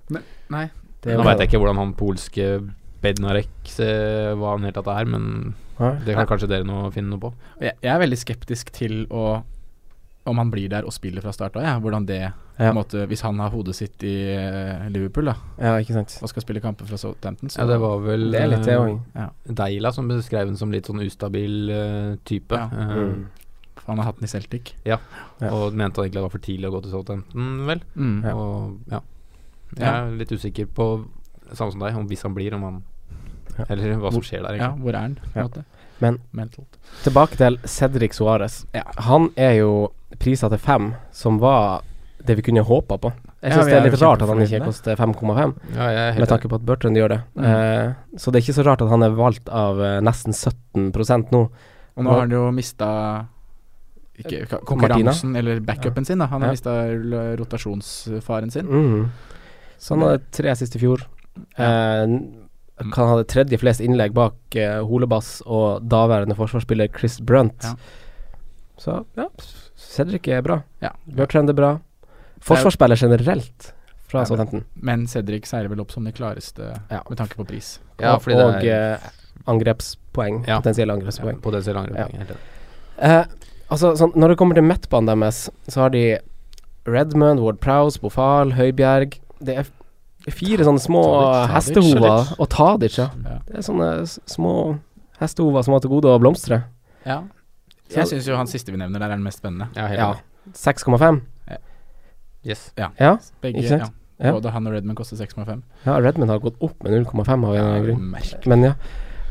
Nei.
Det er
Nå
jo-
veit jeg ikke hvordan han polske Bednarek eh, hva han helt tatt er, men
Nei.
det kan kanskje dere nå finne noe på.
Jeg, jeg er veldig skeptisk til å om han blir der og spiller fra start av, ja. hvordan det på
Ja.
en måte, Hvis han har hodet sitt i eh, Liverpool da
ja, ikke sant.
og skal spille kamper fra Southampton, så
Ja, det var vel
Det er litt det
eh,
òg.
Deila som beskrev den som litt sånn ustabil eh, type.
Ja.
Eh,
Mm.
Han har hatt den i Celtic.
Ja.
Og mente han egentlig det var for tidlig å gå til Southampton, vel.
Mm.
Ja.
Og ja. Jeg
Ja.
er litt usikker på, samme som deg, om hvis han blir, om han
Ja.
Eller hva som skjer der,
Ja,
egentlig.
hvor er han? på en
Ja.
måte?
Men-
Mentalt.
Tilbake til Cedric Suárez.
Ja.
Han er jo prisa til fem, som var det vi kunne håpa på. Jeg
Ja,
syns
vi
det er
er jo
litt rart at han
kjempefornøyde.
ikke koster 5,5,
Ja, jeg er
med
helt
tanke på at Bertrand gjør det.
Mm.
Eh, så det er ikke så rart at han er valgt av eh, nesten 17 nå.
Og nå har han jo mista ikke ka- konkurransen eller backupen sin. da Han har
Eh, Ja.
mista rotasjonsfaren sin.
Mhm.
Mm. Så han hadde tre sist i fjor. Eh, han hadde tredje flest innlegg bak eh, Holebass og daværende forsvarsspiller Chris Brunt.
Ja.
Så ja, Cedric er bra.
Ja.
Bertrand er bra. Forsvarsspiller generelt fra
Ja, men-
Southampton.
Men Cedric seiler vel opp som det klareste
Ja.
med tanke på pris.
Ja,
og
fordi det
og,
er-
eh, angrepspoeng.
Ja.
Potensielle angrepspoeng.
på det så langt
Ja.
helt enig.
Eh, altså, sånn, når det kommer til midtbanen deres, så har de Redmond, Ward Prowse, Bofal, Høibjerg Det er f- fire sånne små
Tadic, Tadic,
hestehover.
Tadic.
Og Tadic, ja.
Ja.
Det er sånne s- små hestehover som har til gode å blomstre.
Ja. Så jeg syns jo han siste vi nevner der, er den mest spennende.
Ja, helt
Ja.
enig.
6,5.
Yes.
Ja.
Begge,
Ikke
ja.
sant? Ja.
Både han og Redman koster 6,5.
ja, Redmond har gått opp med 0,5 av en eller annen grunn.
Merkelig.
Men ja.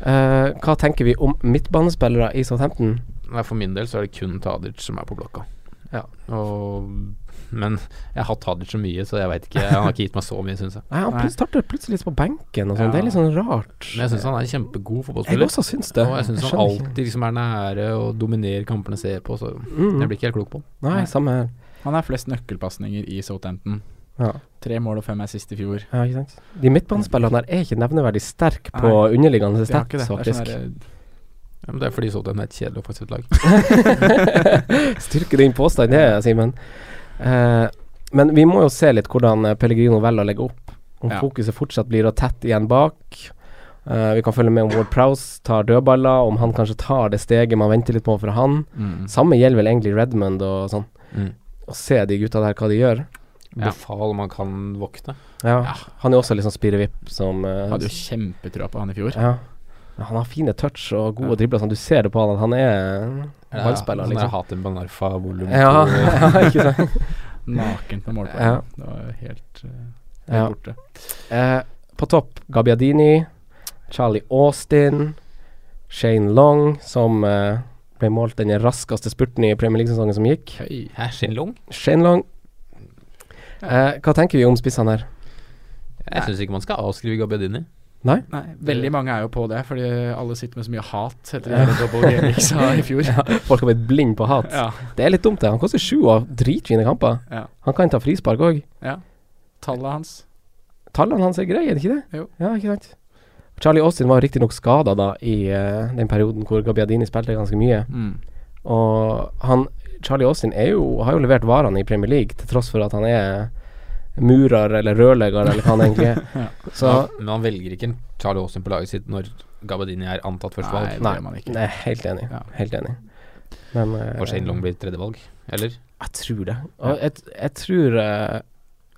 Eh, hva tenker vi om midtbanespillere i Southampton?
Nei, for min del så er det kun Tadic som er på blokka.
Ja.
Og, men jeg har hatt Tadic så mye, så jeg veit ikke. Han har ikke gitt meg så mye, syns jeg.
Nei, Han
Nei.
plut- starter plutselig på benken og sånn.
Ja.
Det er litt sånn rart.
Men jeg syns han er en kjempegod
Jeg
fotballspiller.
også syns det.
Og jeg syns han
skjønner ikke.
alltid liksom er nære og dominerer kampene jeg ser på, så
Mm.
jeg blir ikke helt klok på han.
Nei, samme her.
Han har flest nøkkelpasninger i Southampton.
Ja.
Tre mål og fem er sist i fjor.
Ja, ikke sant. De midtbanespillerne der er ikke nevneverdig sterke på
Nei.
underliggende
De har
stats,
ikke det. Det er sånn
faktisk.
der,
Ja, men det er fordi Southampton er et kjedelig offensivt lag.
Styrke din påstand, det, Simen. Eh, men vi må jo se litt hvordan eh, Pellegrino velger å legge opp. Om
Ja.
fokuset fortsatt blir å tett igjen bak. Eh, vi kan følge med om Ward Prowse tar dødballer, om han kanskje tar det steget man venter litt på fra han.
mm.
Samme gjelder vel egentlig Redmond og sånn.
Mm.
Å se de gutta der, hva de gjør.
Ja.
Befal om han kan våkne.
Ja.
Ja.
Han er også litt sånn spirrevipp som eh,
Hadde jo kjempetrua på han i fjor.
Ja. Men han har fine touch og gode
Ja.
dribler. Sånn. Du ser det på han at han er ballspiller,
liksom.
liksom.
Hatem Banarfa, volum
Ja,
to.
ikke sant?
Naken på målpoeng.
Ja.
Det var helt, eh, helt
Ja.
borte.
Eh, på topp Gabbiadini, Charlie Austin, Shane Long, som eh, ble målt den raskeste spurten i Premier League-sesongen som gikk.
Høy.
Hæ, Shinlong?
Shane Long. Eh, hva tenker vi om spissene her?
Jeg syns ikke man skal avskrive Gabbiadini.
Nei, veldig mange er jo på det, fordi alle sitter med så mye hat etter det dobbel-G-miksa i fjor.
Ja, folk har blitt blind på hat.
Ja,
Det er litt dumt, det. Han koster sju og har dritfine kamper.
ja,
Han kan ta frispark òg.
ja. Tallet hans
Tallene hans er greie, er det ikke det?
Jo.
Ja, ikke sant? Charlie Austin var riktignok skada da i eh, den perioden hvor Gabbiadini spilte ganske mye. Og han Charlie Austin er jo, har jo levert varene i Premier League, til tross for at han er murer eller rørlegger eller hva han egentlig er.
Ja.
Så
Men han velger ikke en Charlie Austin på laget sitt når Gabbiadini er antatt
Nei,
førstevalg.
det gjør man ikke.
Nei, helt enig.
Ja.
Helt enig. Men eh,
Og Shane Long blir tredjevalg, eller?
Jeg tror det. Og jeg, jeg tror eh,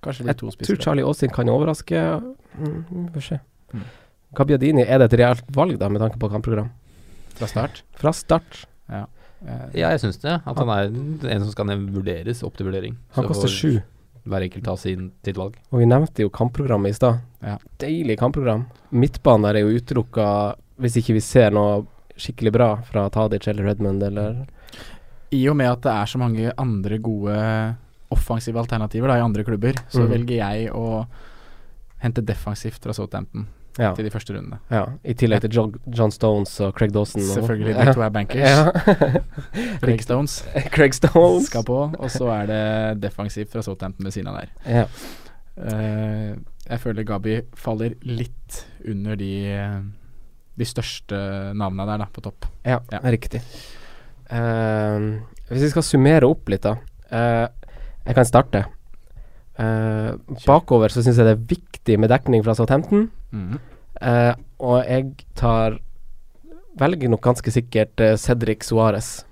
Kanskje det
Jeg
blir to
tror
spisser.
Charlie Austin kan overraske. Mm, Vi får se.
Mm.
Gabbiadini, er det et reelt valg, da, med tanke på kampprogram?
fra start.
Fra start.
Eh,
Ja, jeg syns det. At han er en som skal nev- vurderes opp til vurdering.
Han
Så
koster
får
sju.
Hver enkelt ta sin, sitt valg.
Og vi nevnte jo kampprogrammet i stad.
Ja.
Deilig kampprogram. Midtbanen der er jo utelukka hvis ikke vi ser noe skikkelig bra fra Tadic eller Redmond eller
I og med at det er så mange andre gode offensive alternativer da, i andre klubber, så
Mm.
velger jeg å hente defensivt fra Southampton
Ja.
til de første rundene.
ja. I tillegg til John, John Stones og Craig Dawson. og-
Selvfølgelig,
Ja.
de to er bankers.
Ja.
Greg Stones
Craig Stones.
skal på, og så er det defensivt fra Southampton ved siden av der.
Ja.
Eh, jeg føler Gabi faller litt under de, de største navnene der, da, på topp.
Ja,
Ja.
riktig. Ehm, hvis vi skal summere opp litt, da. Eh, jeg kan starte. Eh, bakover så syns jeg det er viktig med dekning fra Southampton. Eh, og jeg tar Velger nok ganske sikkert eh, Cedric Suárez.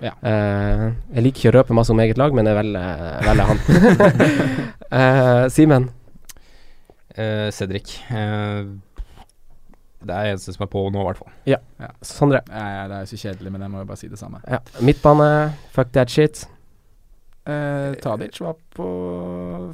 Ja.
Eh, jeg liker ikke å røpe masse om eget lag, men jeg velger, velger han. Eh, Simen.
Eh, Cedric. Eh, det er eneste som er på nå, i hvert fall.
Sondre.
Nei, det er jo så kjedelig, men jeg må jo bare si det samme.
Ja. Midtbane. Fuck that shit.
Eh, Tadic var på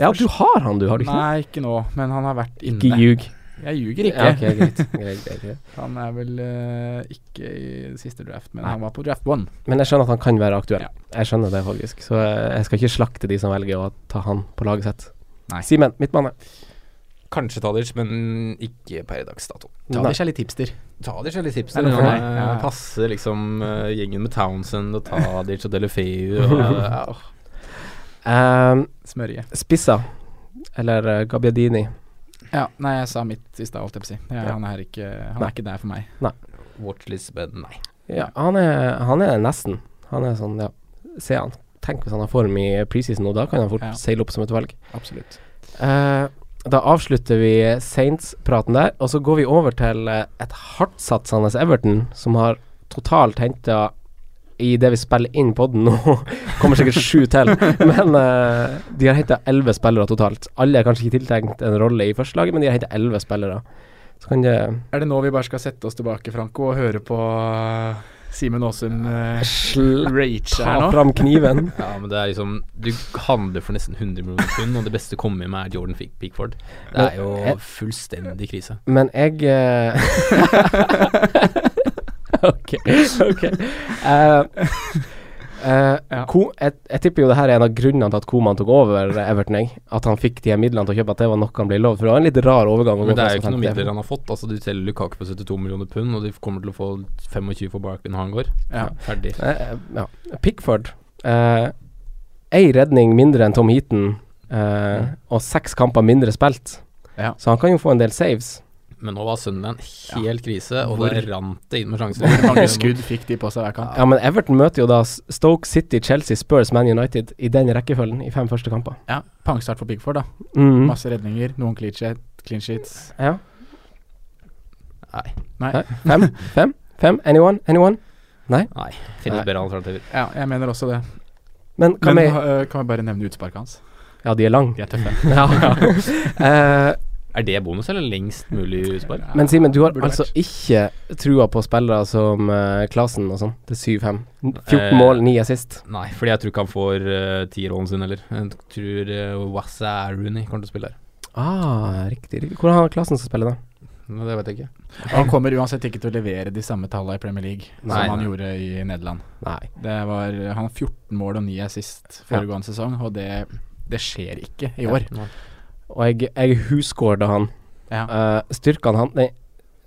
Ja, du har han, du, har du ikke?
Nei, ikke nå, men han har vært inne.
Ikke ljug.
Jeg ljuger ikke.
Ja, ok, greit. greit, greit, greit.
Han er vel eh, ikke i siste draft, men
Nei.
han var på draft one.
Men jeg skjønner at han kan være aktuell.
Ja.
Jeg skjønner det faktisk. Så eh, jeg skal ikke slakte de som velger å ta han på laget sitt.
Nei.
Simen, midtbane.
Kanskje Tadic, men ikke per dags dato.
Tadic er litt hipster.
Tadic er litt hipster.
Er
Han
det for deg?
eh,
Ja.
passer liksom eh, gjengen med Townsend og Tadic og Delefeu. Og, ja, åh.
Ehm,
Smørje.
Spissa, eller eh, Gabbiadini.
Ja, nei, jeg sa mitt i stad, holdt jeg på å si. Ja,
Ja.
Han, er ikke, han
Nei.
er ikke der for meg.
Watchlist, men nei.
Ja, han er, han er nesten. Han er sånn, ja. Se han. Tenk hvis han har form i preseason nå, da kan han fort
Ja.
seile opp som et valg.
Absolutt.
Eh, da avslutter vi Saints-praten der, og så går vi over til eh, et hardtsatsende Everton, som har totalt henta i det vi spiller inn podden nå, kommer sikkert sju til, men eh, de har henta elleve spillere totalt. Alle er kanskje ikke tiltenkt en rolle i førstelaget, men de har henta elleve spillere. Så kan det
Er det nå vi bare skal sette oss tilbake, Franco, og høre på eh, Simen Aasum eh,
slapp
rage her
ta
nå?
fram kniven.
Ja, men det er liksom Du handler for nesten 100 millioner pund, og det beste å komme med er Jordan Fink- Pickford. Det er jo fullstendig krise.
Men jeg eh, Ok. ok Eh, eh,
Ja.
Ko- jeg, jeg tipper jo det her er en av grunnene til at Koman tok over Everton. Jeg. At han fikk de her midlene til å kjøpe, at det var noe han ble lovd. For det var en litt rar overgang. å gå sånn
Men det
fra
er jo ikke noen
50 til
midler han har fått. Altså Du selger Lukaku på 72 millioner pund, og de kommer til å få 25 for Barkley når han går.
Ja.
Ferdig.
Eh, eh, ja. Pickford. Uh, Ei redning mindre enn Tom Heaton, eh, og seks kamper mindre spilt.
Ja.
Så han kan jo få en del saves.
Men nå var Sunderland helt krise, og
Hvor-
det rant det inn med sjanser.
Hvor mange skudd fikk de på seg hver kamp?
Ja, men Everton møter jo da S- Stoke City, Chelsea, Spurs, Man United i den rekkefølgen i fem første kamper.
Ja, Pangstart for Pickford, da.
Mm.
Masse redninger, noen clean sheet- clean sheets.
Ja.
Nei.
Nei.
Nei. Fem? Fem? Fem? Anyone? Anyone?
Nei. Finnes
Nei.
bedre alternativer.
Ja, jeg mener også det.
Men kan
Men
vi
eh, kan vi bare nevne utsparket hans?
Ja, de er lang.
De er tøffe.
Ja. Eh,
Er det bonus, eller lengst mulig utspark?
Ja,
men Simen, du har
burde
altså
vært.
ikke trua på spillere som eh, Klasen og sånn, til 7-5. 14
Eh,
mål, 9 assist.
Nei, fordi jeg tror ikke han får uh, tierrollen sin heller. Jeg tror uh, Wassa Rooney kommer til å spille her.
Ah, riktig. riktig. Hvordan har Klasen som spiller, da?
Men det vet jeg ikke.
Han kommer uansett ikke til å levere de samme tallene i Premier League
Nei,
som han
nei.
gjorde i Nederland.
Nei.
Det var, han har 14 mål og 9 assist foregående sesong, og det, det skjer ikke i år.
Ja.
Og jeg, jeg husgårda han.
Ja.
Eh, styrkene han den,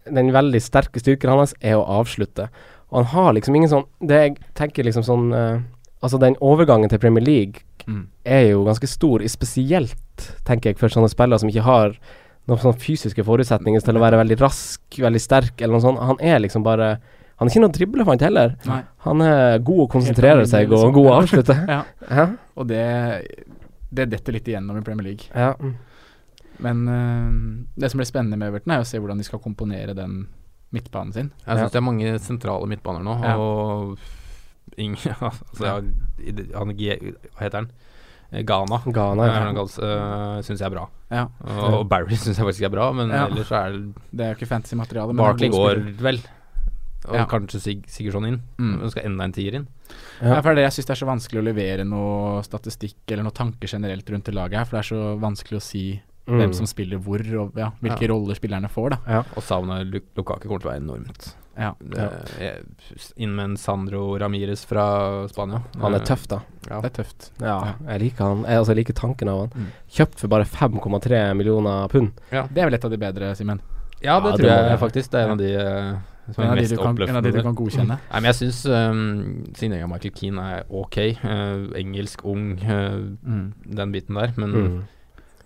den veldig sterke styrken hans er å avslutte. Og han har liksom ingen sånn Det jeg tenker liksom sånn eh, Altså, den overgangen til Premier League
Mm.
er jo ganske stor, i spesielt, tenker jeg, for sånne spillere som ikke har noen sånne fysiske forutsetninger til å være veldig rask, veldig sterk eller noe sånt. Han er liksom bare Han er ikke noen driblefant heller.
Nei.
Han er god å konsentrere
alminnelig,
seg og
liksom.
god å avslutte.
Ja.
Hæ?
Og det, det detter litt igjennom i Premier League.
Ja. Mm.
Men eh, det som blir spennende med Everton, er å se hvordan de skal komponere den midtbanen sin.
Jeg syns det er mange sentrale midtbaner nå,
Ja.
og ingen altså, ja, i det- han, G- Hva heter han? Eh, Ghana.
Ghana. ja.
Uh, syns jeg er bra.
Ja,
Og, og Barry syns jeg faktisk er bra, men
Ja.
ellers så er det
Det er jo ikke fantasy-materiale. men
Barkley
det er gode
går
spillere.
vel. Og
Ja.
kanskje Sig Sigurdsson inn.
Mm.
Men skal enda en tier inn.
Ja.
Ja. for det er det jeg syns det er så vanskelig å levere noe statistikk eller noe tanker generelt rundt det laget her, for det er så vanskelig å si hvem
Mm.
som spiller hvor, og ja, hvilke roller spillerne får, da.
Og savnet Lu- Lukaku kommer til å være enormt.
Ja.
Det, Eh, jeg- inn med en Sandro Ramires fra Spania.
Han
Eh,
er tøff, da.
Ja.
Det er tøft.
Ja, jeg liker han. Jeg, altså, jeg liker tanken av han.
Mm.
Kjøpt for bare 5,3 millioner pund.
Det er vel et av de bedre, Simen.
ja, det
Ja,
tror
det må
jeg
jeg-
faktisk. Det er en av de eh, som
En
er
av de
mest
du kan, en av de du
oppløftende.
kan godkjenne.
Nei, men jeg syns um, signeringen av Michael Keane er ok. Eh, engelsk, ung, eh,
Mm.
den biten der. Men
Mm.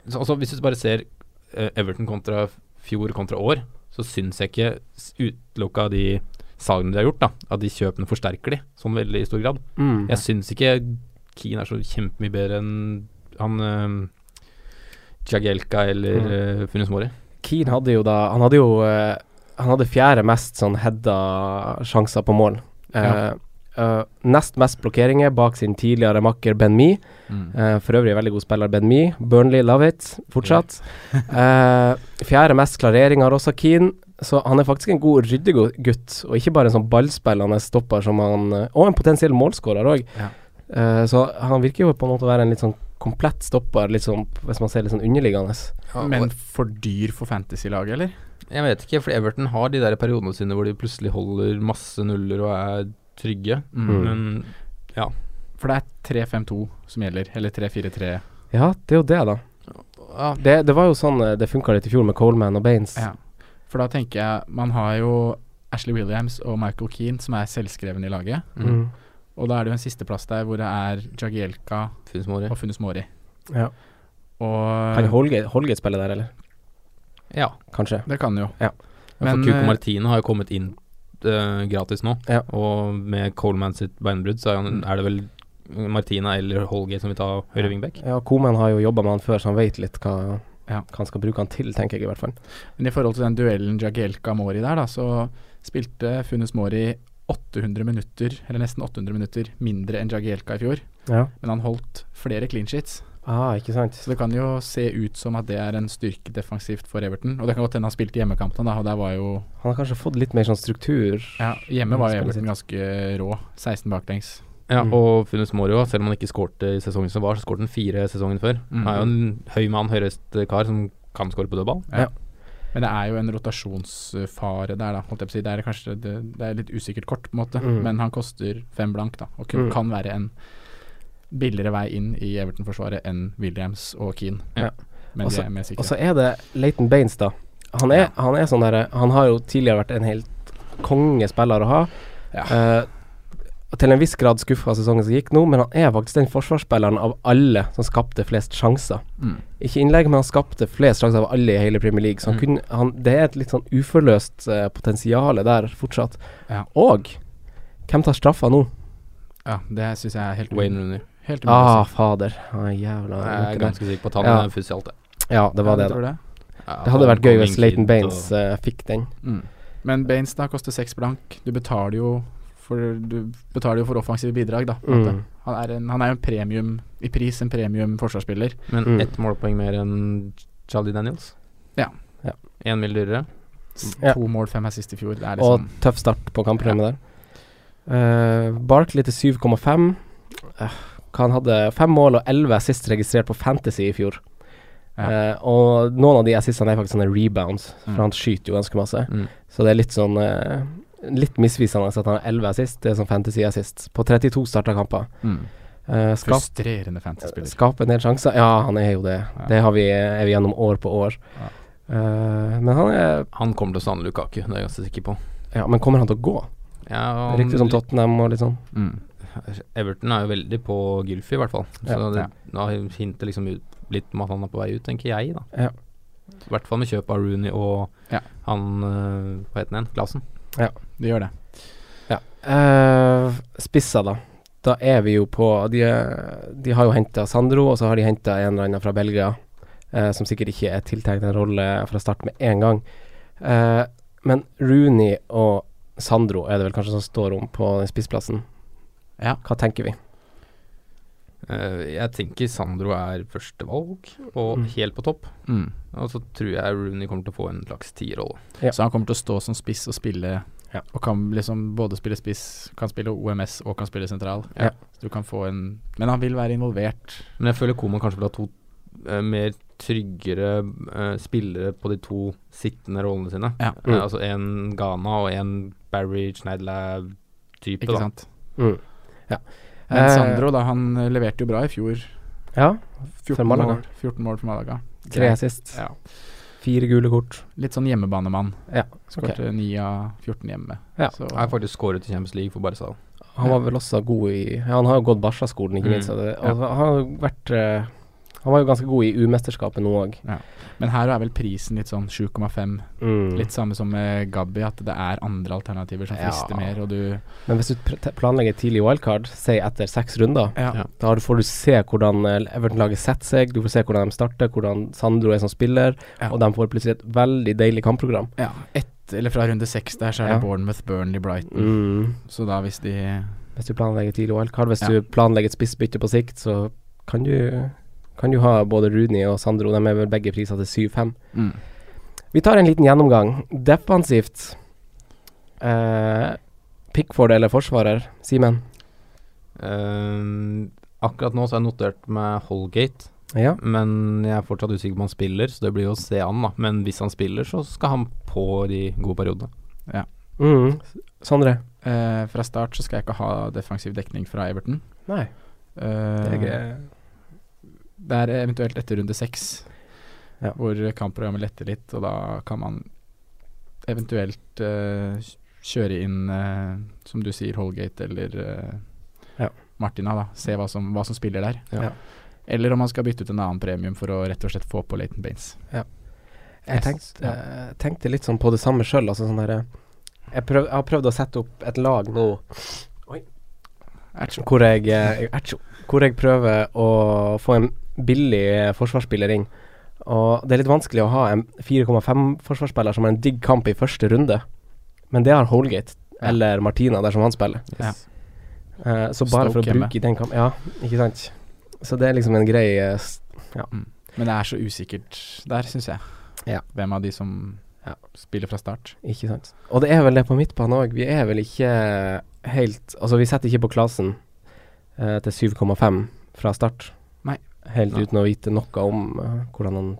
så, altså, hvis du bare ser eh, Everton kontra fjor kontra år, så syns jeg ikke s- utelukka de salgene de har gjort, da, at de kjøpene forsterker de, sånn veldig i stor grad.
Mm.
Jeg syns ikke Keane er så kjempemye bedre enn han uh, Jagielka eller mm. uh, Funes Mori.
Keane hadde jo da Han hadde jo eh, Han hadde fjerde mest sånn heada sjanser på mål. Eh, eh, nest mest blokkeringer bak sin tidligere makker Ben Mee.
Mm.
Eh, for øvrig veldig god spiller Ben Mee. Burnley love it fortsatt. Eh, fjerde mest klareringer også Keane. Så han er faktisk en god ryddegutt, og ikke bare en sånn ballspillende stopper som han eh, Og en potensiell målskårer òg.
Ja.
så han virker jo på en måte å være en litt sånn komplett stopper, litt sånn, hvis man ser litt sånn underliggende.
Men for dyr for fantasy-laget, eller?
Jeg vet ikke, for Everton har de der periodene sine hvor de plutselig holder masse nuller og er trygge.
Mm.
Men
For det er 3-5-2 som gjelder, eller 3-4-3.
Ja, det er jo det, da.
ja,
Det, det var jo sånn eh, det funka litt i fjor med Coleman og Baines.
Ja. For da tenker jeg Man har jo Ashley Williams og Michael Keane som er selvskrevne i laget.
Mm.
Og da er det jo en sisteplass der hvor det er Jagielka
Funes Mori.
og Funes Mori.
Ja. Kan
Og
Holgate, Holgate spille der, eller?
Ja.
Kanskje.
Det kan jo.
Ja, for
Men,
Cuco
eh,
Martino har jo kommet inn eh, gratis nå,
Ja.
og med Coleman sitt beinbrudd, så er, han,
Mm.
er det vel Martina eller Holgate som vil ta høyre wingback.
Ja, Coman har jo jobba med han før, så han veit litt hva,
Ja.
hva han skal bruke han til, tenker jeg i hvert fall.
Men i forhold til den duellen Jagielka-Mori der, da, så spilte Funes Mori 800 minutter, eller nesten 800 minutter, mindre enn Jagielka i fjor.
Ja.
Men han holdt flere clean sheets.
Ah, ikke sant.
Så det kan jo se ut som at det er en styrke defensivt for Everton. Og det kan godt hende han spilte hjemmekampene, da, og der var jo
Han har kanskje fått litt mer sånn struktur.
ja, Hjemme var jo
Spillet
Everton ganske rå. 16 baklengs.
Ja,
Mm.
og Funes Mori òg, selv om han ikke skårte i sesongen som var, så skårte han fire sesongen før.
Mm.
Han er jo en høy mann, høyreist kar som kan skåre på dødball.
Men det er jo en rotasjonsfare der, da. Holdt jeg på å si. Det er kanskje det, det er litt usikkert kort, på en måte.
Mm.
Men han koster fem blank, da. Og kun,
Mm.
kan være en billigere vei inn i Everton-forsvaret enn Williams og Keane.
Ja.
Men
Også-
det er med
Og så
sikkerhet.
er det Leighton Baines, da. Han er, han er sånn derre Han har jo tidligere vært en helt kongespiller å ha. Eh, og til en viss grad skuffa sesongen som gikk nå, men han er faktisk den forsvarsspilleren av alle som skapte flest sjanser.
Mm.
Ikke innlegg, men han skapte flest sjanser av alle i hele Premier League. Så han
Mm.
kunne, han, det er et litt sånn uforløst uh, potensial der fortsatt.
Ja.
Og hvem tar straffa nå?
ja, det syns jeg er
Mm.
helt,
Wayne Rooney.
helt umulig. altså. å
Ah,
si.
fader. Ah, jævla
Jeg er
det.
ganske sikker på at han
Ja.
er fuss i alt, jeg.
Ja, det var
Ja,
det,
du
da.
tror det.
Ja,
Det hadde
han
vært gøy
kom
hvis
inn fint,
Leighton Baines
og-
eh, fikk den.
Mm. Men Baines da koster seks blank. Du betaler jo for, du betaler jo for offensive bidrag, da. på en måte.
Mm.
Han, er en, han er jo en premium i pris, en premium forsvarsspiller.
Men
Mm.
ett målpoeng mer enn Charlie Daniels.
Ja.
Ja.
Én mil dyrere.
S-
Ja.
To mål, fem assist i fjor. Det er
Og
liksom
tøff start på kampprogrammet der. Eh, Barkley til 7,5. Eh, han hadde fem mål og elleve assist registrert på Fantasy i fjor.
Ja.
Eh, og noen av de assistene er faktisk sånne rebounds, for
Mm.
han skyter jo ganske masse.
Mm.
Så det er litt sånn eh, Litt misvisende at han har 11 assist. Det er sånn fantasy assist. På 32 starta kamper.
mm.
Eh, skap,
Frustrerende fantasy-spiller.
skape en del sjanser. Ja, han er jo det.
Ja.
Det har vi, er vi gjennom år på år.
Ja.
Eh, men han er
Han kommer til å savne Lukaku, det er jeg ganske sikker på.
Ja, men kommer han til å gå?
Ja, og
Riktig som Tottenham og litt sånn.
Mm.
Everton er jo veldig på Gylfi, i hvert fall. Så
Ja.
det, da hinter liksom ut, litt om at han er på vei ut, tenker jeg, da.
Ja.
I hvert fall med kjøp av Rooney og
Ja.
han eh, Hva het han igjen? Glasen.
Det gjør det.
Eh, Spissa, da. Da er vi jo på De, eh, de har jo henta Sandro, og så har de henta en eller annen fra Belgia, eh, som sikkert ikke er tiltenkt en rolle fra start med en gang. Eh, men Rooney og Sandro er det vel kanskje som står om på den spissplassen.
Ja.
Hva tenker vi?
Eh, jeg tenker Sandro er førstevalg, og
Mm.
helt på topp.
Mm.
Og så tror jeg Rooney kommer til å få en slags tierrolle.
Ja.
Så han kommer til å stå som spiss og spille
Ja.
Og kan liksom både spille spiss, kan spille OMS og kan spille sentral.
Ja.
Så du kan få en Men han vil være involvert.
Men jeg føler Koman kanskje vil ha to eh, mer tryggere eh, spillere på de to sittende rollene sine.
Ja.
Eh,
Mm.
altså en Ghana og en Barry Schneidlab-type,
Ikke
da.
sant?
Mm. Ja.
Men
Eh,
Sandro, da, han leverte jo bra i fjor.
Ja,
14
For Malaga.
mål, 14 mål for Malaga.
tre sist.
Ja.
Fire gule kort.
Litt sånn hjemmebanemann.
Ja,
Skårte 9 av 14 hjemme.
Ja.
Så,
Jeg har faktisk skåret i Champions League for Barca.
Han var vel også god i ja, Han har jo gått Barca-skolen, ikke
Mm,
minst. så det-
ja.
Og han har jo vært eh, Han var jo ganske god i U-mesterskapet nå òg.
men her er vel prisen litt sånn 7,5.
Mm.
Litt samme som med Gabby, at det er andre alternativer som
Ja.
frister mer, og du
Men hvis du pr- te- planlegger tidlig wildcard, si etter seks runder,
Ja.
da har du- får du se hvordan eh, Everton-laget setter seg, du får se hvordan de starter, hvordan Sandro er som spiller,
Ja.
og de får plutselig et veldig deilig kampprogram.
Ja, ett, eller fra runde seks der, så er
Ja. Mm.
det Bournemouth, Burnley, Brighton. Så da hvis de
Hvis du planlegger tidlig wildcard, hvis
Ja.
du planlegger et spissbytte på sikt, så kan du, kan du ha både Rooney og Sandro, de er vel begge priser til 7-5. Vi tar en liten gjennomgang. Defensivt eh, Pickford eller forsvarer? Simen?
Ehm, akkurat nå så har jeg notert med Holgate,
Ja.
men jeg er fortsatt usikker på om han spiller, så det blir jo å se an, da. Men hvis han spiller, så skal han på de gode periodene.
Mm. Sondre?
eh, Fra start så skal jeg ikke ha defensiv dekning fra Everton.
Nei.
Eh,
Det er ikke
det er eventuelt etter runde seks,
Ja.
hvor kampprogrammet letter litt, og da kan man eventuelt eh, kjøre inn, eh, som du sier, Holgate eller eh,
Ja.
Martina, da. Se hva som, hva som spiller der.
Ja.
Ja.
Eller om man skal bytte ut en annen premium for å rett og slett få på Leighton Baines.
Jeg tenkte, eh, tenkte litt sånn på det samme sjøl. Altså sånn derre jeg, prøv, jeg har prøvd å sette opp et lag nå
Ertjo.
hvor jeg, eh, atsjo, hvor jeg prøver å få en billig eh, forsvarsspiller inn. Og det er litt vanskelig å ha en 4,5-forsvarsspiller som har en digg kamp i første runde, men det har Holgate
Ja.
eller Martina dersom han spiller.
Ja.
Eh, så bare for å
Stoke hjemme.
bruke i den kampen Ja, ikke sant. Så det er liksom en grei eh, s-
Men det er så usikkert der, syns jeg.
Ja.
Hvem av de som
Ja.
spiller fra start.
Ikke sant. Og det er vel det på midtbanen òg. Vi er vel ikke helt Altså, vi setter ikke på klassen eh, til 7,5 fra start.
Nei.
Helt
Nei.
uten å vite noe om eh, hvordan han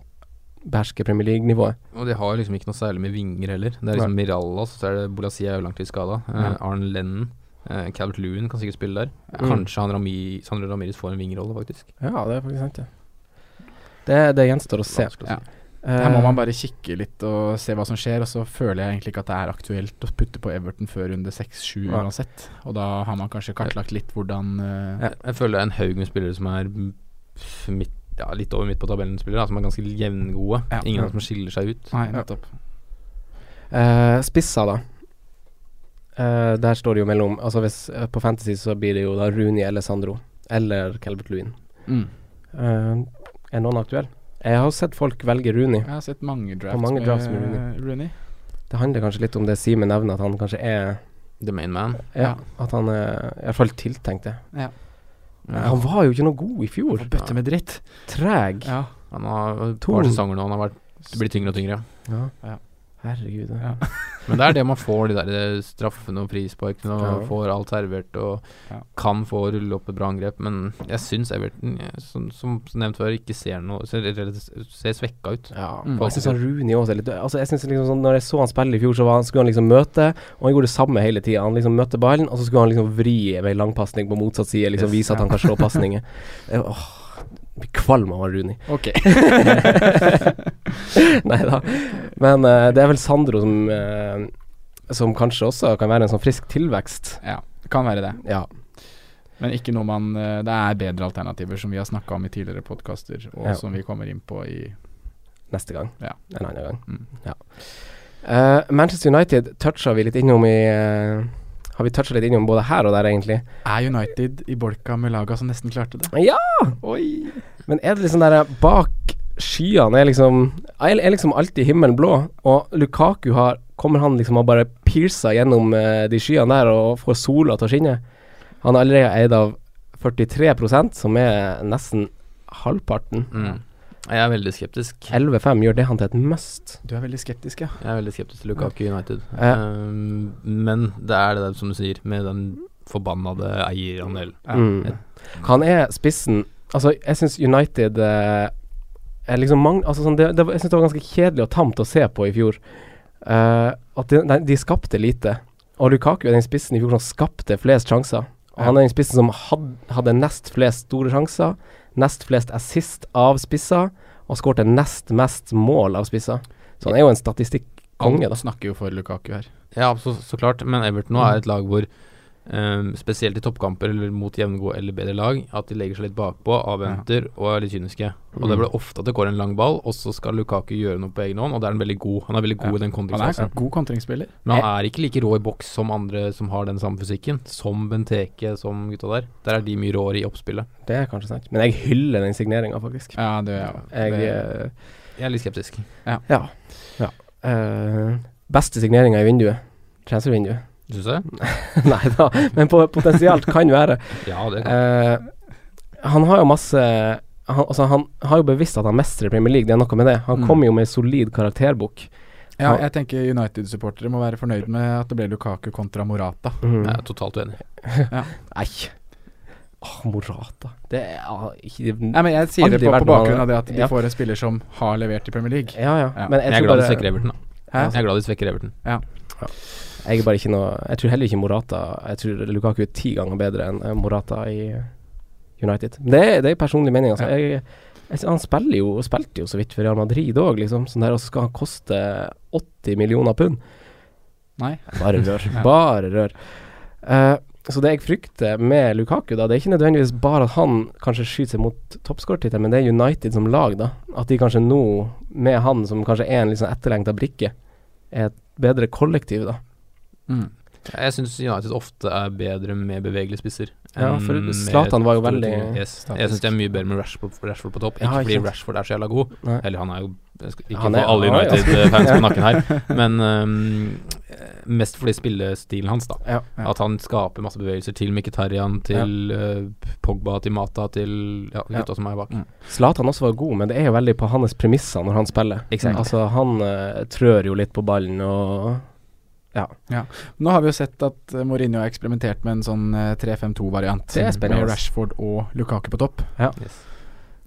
behersker Premier League-nivået.
Og de har liksom ikke noe særlig med vinger heller. Det er liksom Mirallas, så er det Bolassia er jo langtidsskada. Eh,
Ja.
Arne Lennon. Eh, Calvert Lewin kan sikkert spille der.
Mm.
Kanskje han Rami, Sandro Ramirez får en vingerrolle, faktisk.
Ja, det er faktisk sant, det. Det, gjenstår å se.
Vanskelig å
Ja.
si.
Eh.
Her må man bare kikke litt og se hva som skjer, og så føler jeg egentlig ikke at det er aktuelt å putte på Everton før runde 6-7
Nei.
uansett. Og da har man kanskje kartlagt litt hvordan eh,
Jeg, jeg føler det er en haug med spillere som er m- f- midt, ja, litt over midt på tabellen, spillere, da, som er ganske jevngode.
Ja.
Ingen
Ja.
som skiller seg ut.
Nei, nettopp.
Eh, Spissa, da. Eh, der står det jo mellom Altså hvis eh, På Fantasy så blir det jo da Rooney eller Sandro. Eller Calvert Lewin.
Mm.
Eh, er noen aktuell? Jeg har sett folk velge Rooney.
Jeg har sett mange drafts,
mange drafts med
med Rooney.
Det handler kanskje litt om det Simen nevner, at han kanskje er
The main man.
Ja,
Ja.
at han er i hvert fall tiltenkt det.
Ja.
Han var jo ikke noe god i
Og
fjor.
Bøtte med dritt.
Treg.
Ja.
Han har et
To.
par sesonger nå, han har vært, blitt tyngre og tyngre.
Ja.
Ja.
Herregud.
Ja.
Men det er det man får, de der eh, straffene og frisparkene, og
Ja.
får alt servert og
Ja.
kan få rulle opp et bra angrep. Men jeg syns Everton, eh, som, som nevnt før, ikke ser noe Ser, ser svekka ut.
Ja,
Mm.
og jeg syns Rooney også er litt altså jeg synes liksom sånn, Når jeg så han spille i fjor, så var han, skulle han liksom møte, og han gjorde det samme hele tida. Han liksom møtte ballen, og så skulle han liksom vri ved en langpasning på motsatt side, liksom
Yes,
vise at
ja.
han kan slå pasninger. Jeg- Åh, jeg blir kvalm av han Rooney.
Ok.
Nei da. Men eh, det er vel Sandro som eh, Som kanskje også kan være en sånn frisk tilvekst.
ja, det kan være det.
Ja.
Men ikke noe man eh, Det er bedre alternativer, som vi har snakka om i tidligere podkaster, og
Ja.
som vi kommer inn på i
Neste gang.
Ja.
En annen gang.
Mm.
Ja. Eh, Manchester United toucha vi litt innom i eh, Har vi toucha litt innom både her og der, egentlig?
Er United i bolka med laga som nesten klarte det?
Ja!
Oi!
Men er det liksom der eh, bak skyene er liksom Er er liksom alltid himmelen blå, og Lukaku har Kommer han liksom og bare piercer gjennom eh, de skyene der og får sola til å skinne? Han er allerede eid av 43 som er nesten halvparten.
Mm. Jeg er veldig skeptisk.
11-5 gjør det han til et must.
Du er veldig skeptisk, ja.
Jeg er veldig skeptisk til Lukaku United.
Ja.
Um, men det er det der som du sier, med den forbannede eierandelen.
ja.
Mm. Han er spissen Altså, jeg syns United eh, er liksom mang, altså, sånn, det, det, var- Jeg syns det var ganske kjedelig og tamt å se på i fjor. Eh, at de, nei, de skapte lite. Og Lukaku er den spissen i fjor som skapte flest sjanser. Og
Ja.
han er den spissen som had, hadde nest flest store sjanser, nest flest assist av spisser, og skårte nest mest mål av spisser. Så han er jo en statistikkonge, da.
Alle snakker jo for Lukaku her.
Ja, så, så klart, men Everton nå er et lag hvor um, spesielt i toppkamper eller mot jevngode eller bedre lag, at de legger seg litt bakpå, avventer og er litt kyniske. Og det
Mm.
blir ofte at det går en lang ball, og så skal Lukaku gjøre noe på egen hånd, og det er han veldig god. Han er veldig god
Ja.
i den
Han er
konteksten.
en god kontringsspiller.
Men han er ikke like rå i boks som andre som har den samme fysikken. Som Benteke, som gutta der. Der er de mye råere i oppspillet.
Det er kanskje sant. Men jeg hyller den signeringa, faktisk.
Ja, det er
Jeg
det-
eh,
Jeg er litt skeptisk.
Ja. Eh, beste signeringa i vinduet. Transfervinduet.
Syns jeg?
Nei da, men på, potensielt kan være.
Ja, det kan
Eh, han har jo masse han, altså, han har jo bevisst at han mestrer Premier League, det er noe med det. Han
Mm.
kommer jo med ei solid karakterbok.
Ja, jeg tenker United-supportere må være fornøyd med at det ble Lukaku kontra Morata.
jeg er totalt uenig.
Nei. Åh, Morata. Det er ah, ikke
Nei, men Jeg sier det
Aldri
på,
vært
på bakgrunn av det at de
Ja.
får en spiller som har levert i Premier League.
Ja, ja.
Ja.
Men jeg,
Jeg er
tror
glad de
bare
svekker Everton, da.
Hæ?
Jeg er glad de svekker Everton.
Jeg er bare ikke noe Jeg tror heller ikke Morata Jeg tror Lukaku er ti ganger bedre enn eh, Morata i eh, United. Men Det er, det er personlig mening, altså. Jeg, jeg, sy- han spiller jo, spilte jo så vidt for Real Madrid òg, liksom. Sånn der, og så skal han koste 80 millioner pund.
Nei.
Bare rør. Bare rør. Eh, så det jeg frykter med Lukaku, da, det er ikke nødvendigvis bare at han kanskje skyter seg mot toppskårertittelen, men det er United som lag, da. At de kanskje nå, med han som kanskje er en liksom etterlengta brikke, er et bedre kollektiv, da.
Mm.
Jeg syns United ofte er bedre med bevegelige spisser.
Ja,
enn
for
med
Zlatan var jo
store
veldig
ting. yes. Jeg syns de er mye bedre med Rashford, Rashford på topp.
Ja,
Ikke
ikke
fordi
sant.
Rashford er så jævla god,
Nei.
eller han er jo jeg skal Ikke
Han er-
få alle
han er
United-fans på nakken her, men øhm, mest fordi spillestilen hans, da.
Ja.
Ja.
At han skaper masse bevegelser til Mkhitaryan, til øh, Pogba, til Mata, til ja, gutta som er bak.
Zlatan også var god, men det er jo veldig på hans premisser når han spiller.
Exakt.
Altså, han eh, trør jo litt på ballen og
Nå har vi jo sett at eh, Mourinho har eksperimentert med en sånn eh, 3-5-2-variant.
Det er spennende.
Med Rashford og Lukaku på topp.
Yes.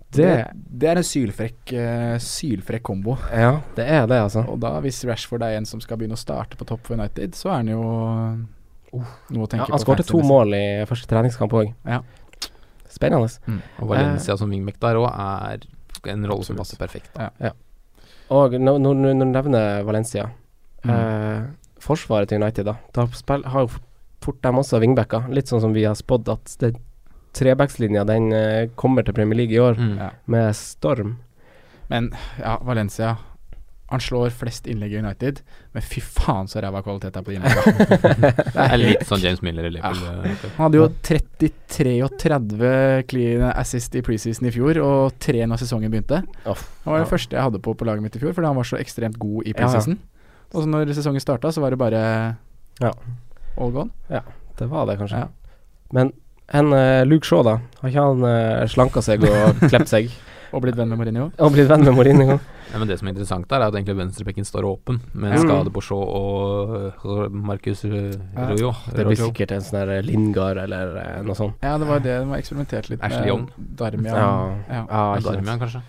Det,
Det-
det er en sylfrekk, eh, sylfrekk kombo.
Ja, det er det, altså.
Og da, hvis Rashford er en som skal begynne å starte på topp for United, så er han jo noe å
Ja,
tenke på.
han skårte to
fantasy-messig.
mål i første treningskamp òg.
Ja.
Spennende.
Og
Eh.
Valencia som wingback der òg er en rolle som passer perfekt.
Og når når- når du nevner Valencia
Mm.
eh, Forsvaret til United, da. Da spill, har jo f- fort dem også wingbacker. Litt sånn som vi har spådd at det- trebackslinja den eh, kommer til Premier League i år
Mm.
Ja.
med storm.
Men ja, Valencia Han slår flest innlegg i United, men fy faen så ræva kvalitet det er på de innleggene.
Det er litt sånn James Miller i Liverpool. øh,
Han hadde jo 33 og 30 clean assist i preseason i fjor, og tre når sesongen begynte.
Uff.
Han var
Ja.
det første jeg hadde på på laget mitt i fjor, fordi han var så ekstremt god i
Ja, ja.
preseason. Og så når sesongen starta, så var det bare
Ja.
all gone.
Det var det, kanskje.
Ja.
Men en eh, Luke Shaw, da. Har ikke han uh, slanka seg eh, og klept seg?
og blitt venn med Mourinho.
Og blitt venn med Mourinho.
Ja, men det som er interessant der, er at egentlig venstrebekken står åpen, med
Ja.
skade på Shaw og øh, Marcus øh,
Ja,
Rojo.
Det blir
Rojo.
sikkert en sånn der Lingard eller eh, noe sånt.
Ja, det var det de har eksperimentert litt
Ashley Young.
Darmian.
Ja.
Ja.
Ja,
Ja,
ikke sant.
Darmian, kanskje.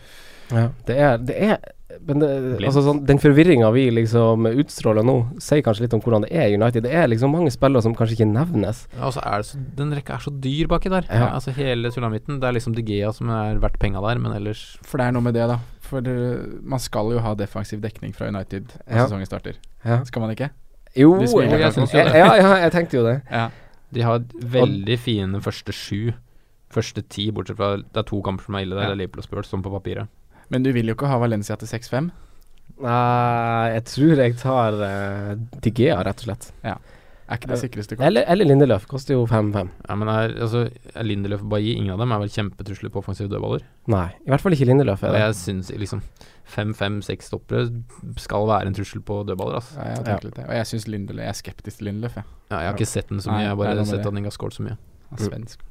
Ja, det er, det er men det,
Blind.
altså sånn, den forvirringa vi liksom utstråler nå, sier kanskje litt om hvordan det er i United. Det er liksom mange spillere som kanskje ikke nevnes.
Ja, og så er det så, Den rekka er så dyr baki der.
Ja.
Ja, altså Hele sulamitten. Det er liksom De Gea som er verdt penga der, men ellers
For det er noe med det, da. For det, man skal jo ha defensiv dekning fra United når
Ja.
sesongen starter.
Ja.
Skal man ikke?
Jo,
Du
jeg,
smiler,
jeg,
kanskje.
ja, ja, jeg tenkte jo det.
Ja.
De har veldig fine første sju. Første ti, bortsett fra Det er to kamper som er ille der. Det
Ja.
er Liverpool og Spurs, sånn på papiret.
Men du vil jo ikke ha Valencia til 6-5.
Nei, jeg tror jeg tar uh, Digea, rett og slett.
Er ikke Eh, det sikreste kort?
Eller, eller Lindeløf. Koster jo 5-5.
Ja, men er, altså, er Lindelöf og Bailly, ingen av dem er vel kjempetrusler på offensive dødballer.
Nei, i hvert fall ikke Lindeløf.
Og
Er det.
jeg syns liksom fem-fem-seks stoppere skal være en trussel på dødballer, altså.
Ja, jeg, har tenkt litt det. Og jeg synes Lindeløf Jeg er skeptisk til Lindeløf, jeg.
Ja, jeg har ikke sett den så
Nei,
mye, jeg har
det er
bare
noe med
sett
det.
at den ikke har skåret så mye.
Han er Svensk.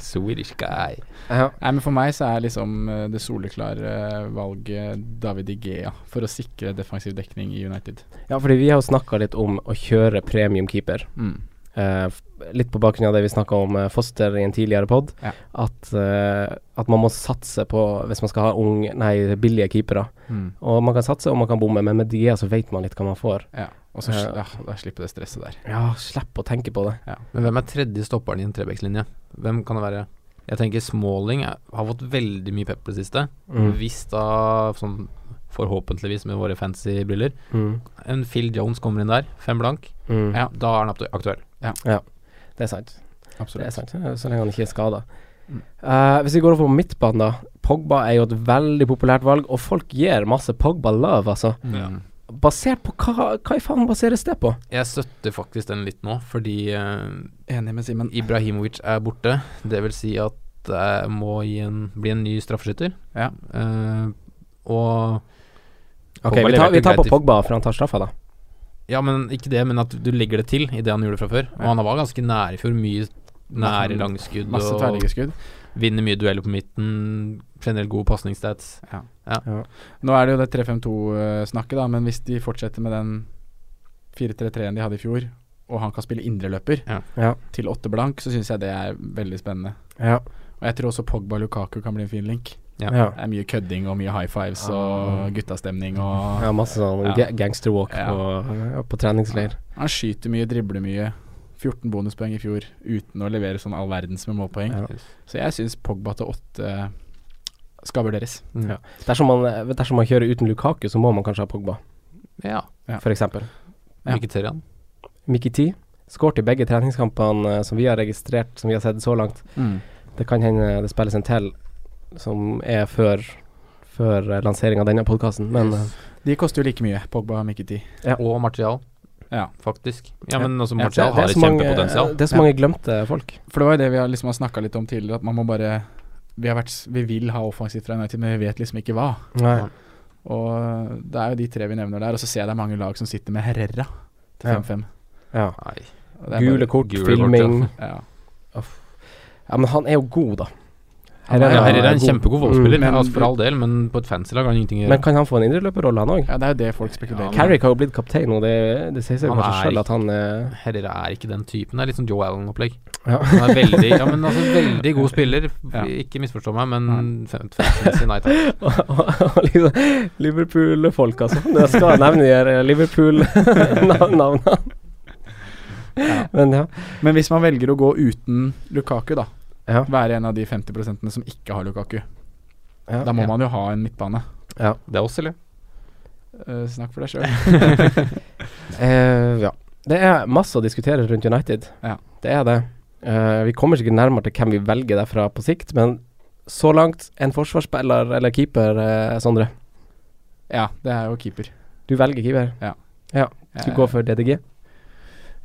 Swedish guy.
Ja.
Nei, men for meg så er liksom eh, det soleklare eh, valget David Igea for å sikre defensiv dekning i United.
ja, fordi vi har jo snakka litt om å kjøre premiumkeeper.
Mm.
Eh, f- litt på bakgrunn av det vi snakka om eh, Foster i en tidligere pod,
Ja.
at, eh, at man må satse på hvis man skal ha ung, nei, billige keepere.
Mm.
Og man kan satse og man kan bomme, men med de så vet man litt hva man får.
Ja. Og så
Ja.
ja. da slipper det stresset der.
Ja, slipp å tenke på det.
Men hvem er tredje stopperen i en trebekslinje? Hvem kan det være? Jeg tenker Smalling er, har fått veldig mye pep på det siste. Hvis da, sånn forhåpentligvis med våre fancy briller
Mm.
En Phil Jones kommer inn der, fem blank.
Mm.
Ja, da er han aktu- aktuell.
Det er sant. Det er
Absolutt.
sant, så lenge han ikke er skada.
Mm.
hvis vi går over på midtbanen, da. Pogba er jo et veldig populært valg, og folk gir masse Pogba-love, altså.
Ja.
Basert på hva, hva i faen baseres det på?
Mm. Jeg støtter faktisk den litt nå, fordi eh,
Enig med Simen.
Ibrahimovic er borte. Det vil si at det må gi en, bli en ny straffeskytter.
Ja.
Eh, og
Ok,
Pogba
vi tar,
leverte
vi tar på
greit i-
Pogba, for han tar straffa, da.
Ja, men ikke det, men at du legger det til i det han gjorde fra før. Og
Ja.
han var ganske nær i fjor. Mye nære
Masse-
langskudd
Masse
og
tverrliggerskudd.
vinner mye dueller på midten. Generelt gode pasningsstats.
Nå er det jo det 3-5-2-snakket, da, men hvis de fortsetter med den 4-3-3-en de hadde i fjor, og han kan spille indreløper
Ja.
Ja.
til åtte blank, så syns jeg det er veldig spennende.
Ja.
Og jeg tror også Pogba og Lukaku kan bli en fin link.
Ja.
Ja.
Det er mye kødding og mye high fives og guttastemning og
Ah. Ja, masse sånn
Ja.
ga- gangsterwalk
Ja.
på, ja, på treningsleir.
Han skyter mye, dribler mye. 14 bonuspoeng i fjor uten å levere sånn all verdens med målpoeng.
Ja.
Så jeg syns Pogba til åtte skal vurderes.
Mm. Ja.
Dersom man, dersom man kjører uten Lukaku, så må man kanskje ha Pogba,
ja.
Ja.
for eksempel.
Ja.
Mkhitaryan.
Miki T skåret i begge treningskampene eh, som vi har registrert, som vi har sett så langt. Det kan hende det spilles en til som er før, før eh, lansering av denne podkasten, men eh,
De koster jo like mye, Pogba og Mikiti.
Ja.
Og Martial,
Ja.
faktisk.
Ja.
Ja, men også
Ja,
Martial
det,
har
er
et
så mange,
kjempepotensial.
det er så mange glemte folk.
For det var jo det vi har, liksom har snakka litt om tidligere, at man må bare Vi, har vært, s- vi vil ha offensivt fra United, men vi vet liksom ikke hva.
Nei.
Og det er jo de tre vi nevner der. Og så ser jeg det er mange lag som sitter med Herrera til
Ja.
5-5.
Ja.
Nei.
Og det er
Gule
bare-
kort,
gule kort,
filming ja.
Ja.
men han er jo god, da.
Han er-
Ja,
Ja,
Herrera er en
god.
kjempegod fotballspiller,
Mm, men-
altså, for all del, men på et fancy lag har han ingenting å
Men
gjøre.
kan han få en indreløperrolle, han òg?
ja, det er jo det folk spekulerer
Ja,
i.
men-
Carrick har jo blitt kaptein, og det, det sier seg
Han
kanskje
er
sjøl
ikke-
at han er
Herrera er ikke den typen. Det er litt sånn Joe Allen-opplegg.
Ja.
Han er veldig, ja, men altså, veldig god spiller.
Ja.
Ikke misforstå meg, men fem- fancy, nei takk.
Og- og- og liksom Liverpool-folk, altså. Men Jeg skal nevne de her eh, Liverpool-navnene. Men ja.
Men hvis man velger å gå uten Lukaku, da.
Ja.
Være en av de 50 som ikke har Lukaku.
ja.
Da må
ja.
man jo ha en midtbane.
Det er oss, eller?
Eh, snakk for deg sjøl.
Eh, ja. Det er masse å diskutere rundt United.
Ja.
Det er det. Eh, vi kommer sikkert nærmere til hvem vi velger derfra på sikt, men så langt en forsvarsspiller eller keeper, eh, Sondre.
Ja, det er jo keeper.
Du velger keeper.
Eh.
Skal du gå for DDG?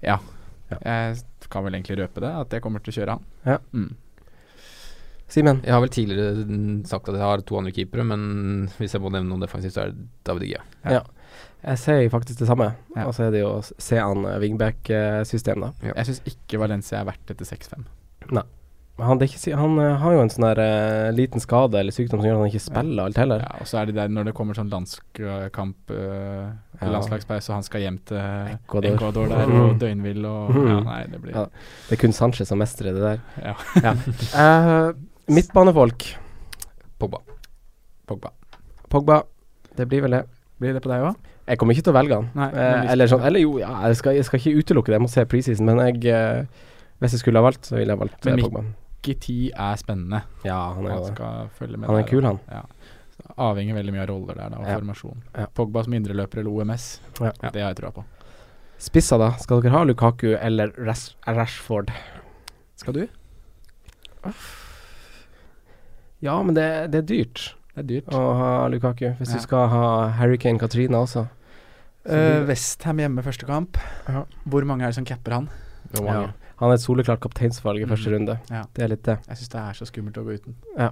Jeg kan vel egentlig røpe det, at jeg kommer til å kjøre han.
Ja.
Mm.
Simen?
Jeg har vel tidligere mm, sagt at jeg har to andre keepere, men hvis jeg må nevne noen defensivt, så er det David Gea.
Jeg sier faktisk det samme.
Ja.
Og så er det jo se an wingback-system, eh, da.
Ja.
Jeg syns ikke Valencia er verdt dette 6-5.
Han, det er ikke, si- han eh, har jo en sånn her eh, liten skade eller sykdom som gjør at han ikke spiller alt heller.
Ja, og så er det der når det kommer sånn landskamp eh,
Ja.
Landslagspause, og han skal hjem til
Ecuador.
Ecuador, der,
Mm.
og døgnvill og
Mm.
ja, Nei, det blir
Ja. Det er kun Sanchez som mestrer det der.
Ja.
Eh, midtbanefolk.
Pogba.
Pogba.
Pogba. Det blir vel det.
Blir det på deg òg?
Jeg kommer ikke til å velge han.
Nei, men
Eh,
hvis-
eller sånn Eller jo, ja, jeg, skal, jeg skal ikke utelukke det, jeg må se preseason, men jeg eh, Hvis jeg skulle ha valgt, så ville jeg valgt
Men
eh,
Mik-
Pogba.
Giti er spennende.
Ja, han er
Han
jo det.
skal følge med
Han er
der,
kul, han.
da. Avhenger veldig mye av roller der, da, og
Ja.
formasjon.
Ja.
Pogba som indreløper eller OMS,
Ja.
det har jeg trua på.
Spissa, da? Skal dere ha Lukaku eller Rash Rashford?
Skal du?
Ja, men det, det er dyrt
Det er dyrt.
å ha Lukaku. Hvis
Ja.
du skal ha Hurricane Katrina også.
Uh, Westham hjemme første kamp.
Ja.
Hvor mange er det som capper han?
Det var mange.
Ja. Han er et soleklart kapteinsvalg i
Mm.
første runde.
Ja.
Det er litt det.
Jeg syns det er så skummelt å gå uten.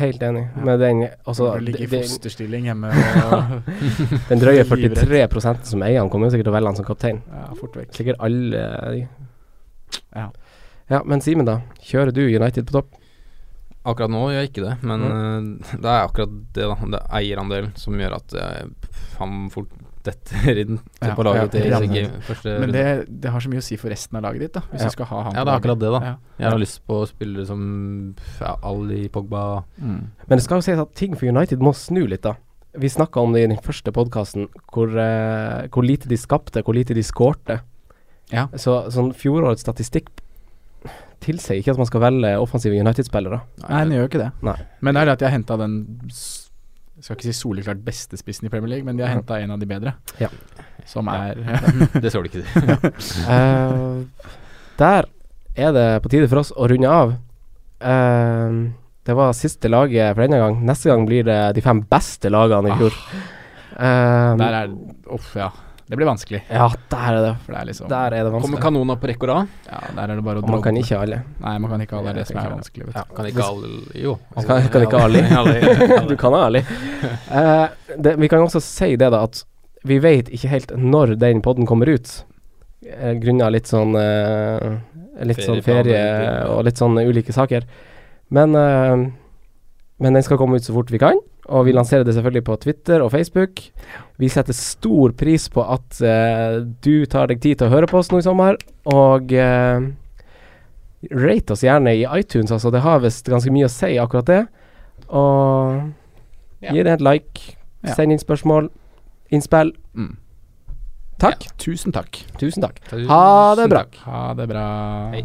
Helt enig.
Ja.
Men den, altså,
Når du ligger i
den,
fosterstilling hjemme og
den drøye
livredd.
43 som eier han, kommer jo sikkert til å velge han som kaptein.
ja, fort vekk.
Sikkert alle de.
Ja.
Ja, men Simen, da. Kjører du United på topp?
Akkurat nå gjør jeg ikke det, men eh, det er akkurat det, da. Det er eierandelen som gjør at jeg, han fort detter inn til-
Ja,
på laget
ja,
til
ja.
PSG første
Men
runde.
det, det har så mye å si for resten av laget ditt, da. Hvis
Ja.
du skal ha han
Eh, Ja,
på
det er
laget.
akkurat det, da.
Ja.
Jeg har lyst på spillere som ja, Ali, Pogba
Mm.
Men det skal jo sies at ting for United må snu litt, da. Vi snakka om det i den første podkasten, hvor, eh, hvor lite de skapte, hvor lite de skårte.
Ja.
Så sånn fjorårets statistikk tilsier ikke at man skal velge offensive United-spillere.
Nei, den gjør jo ikke det.
Nei.
Men det er det at de har henta den s- Skal ikke si soleklart beste spissen i Premier League, men de har
Ja.
henta en av de bedre.
Ja.
Som er
Det så du ikke til.
Eh, der er det på tide for oss å runde av. Eh, det var siste laget for denne gang. Neste gang blir det de fem beste lagene i fjor. Eh,
Ah. Der er Uff, ja. Det blir vanskelig.
Ja, der er det.
For det er liksom
Der er det
Kommer
vanskelig.
kanona på rekke og rad?
Ja, der er det bare å
Og man
drodle.
kan ikke alle.
Nei, man kan ikke ha det. Det er det som er vanskelig, vet du.
Ja, kan ikke Ali Jo.
Kan- kan ikke Ali?
Ali.
du kan ha ærlig. Eh, det, vi kan også si det, da, at vi vet ikke helt når den podden kommer ut. Eh, Grunnet litt sånn eh, Litt
Ferieplaner,
sånn ferie
egentlig, ja.
og litt sånn ulike saker. Men eh, Men den skal komme ut så fort vi kan. Og vi lanserer det selvfølgelig på Twitter og Facebook. Vi setter stor pris på at eh, du tar deg tid til å høre på oss nå i sommer, og eh, rate oss gjerne i iTunes, altså. Det har visst ganske mye å si, akkurat det. Og
Ja.
gi det et like.
Ja.
Send inn spørsmål, innspill.
Mm.
Takk.
Tusen takk.
Tusen takk. Ha det bra.
Ha det bra.
Hei.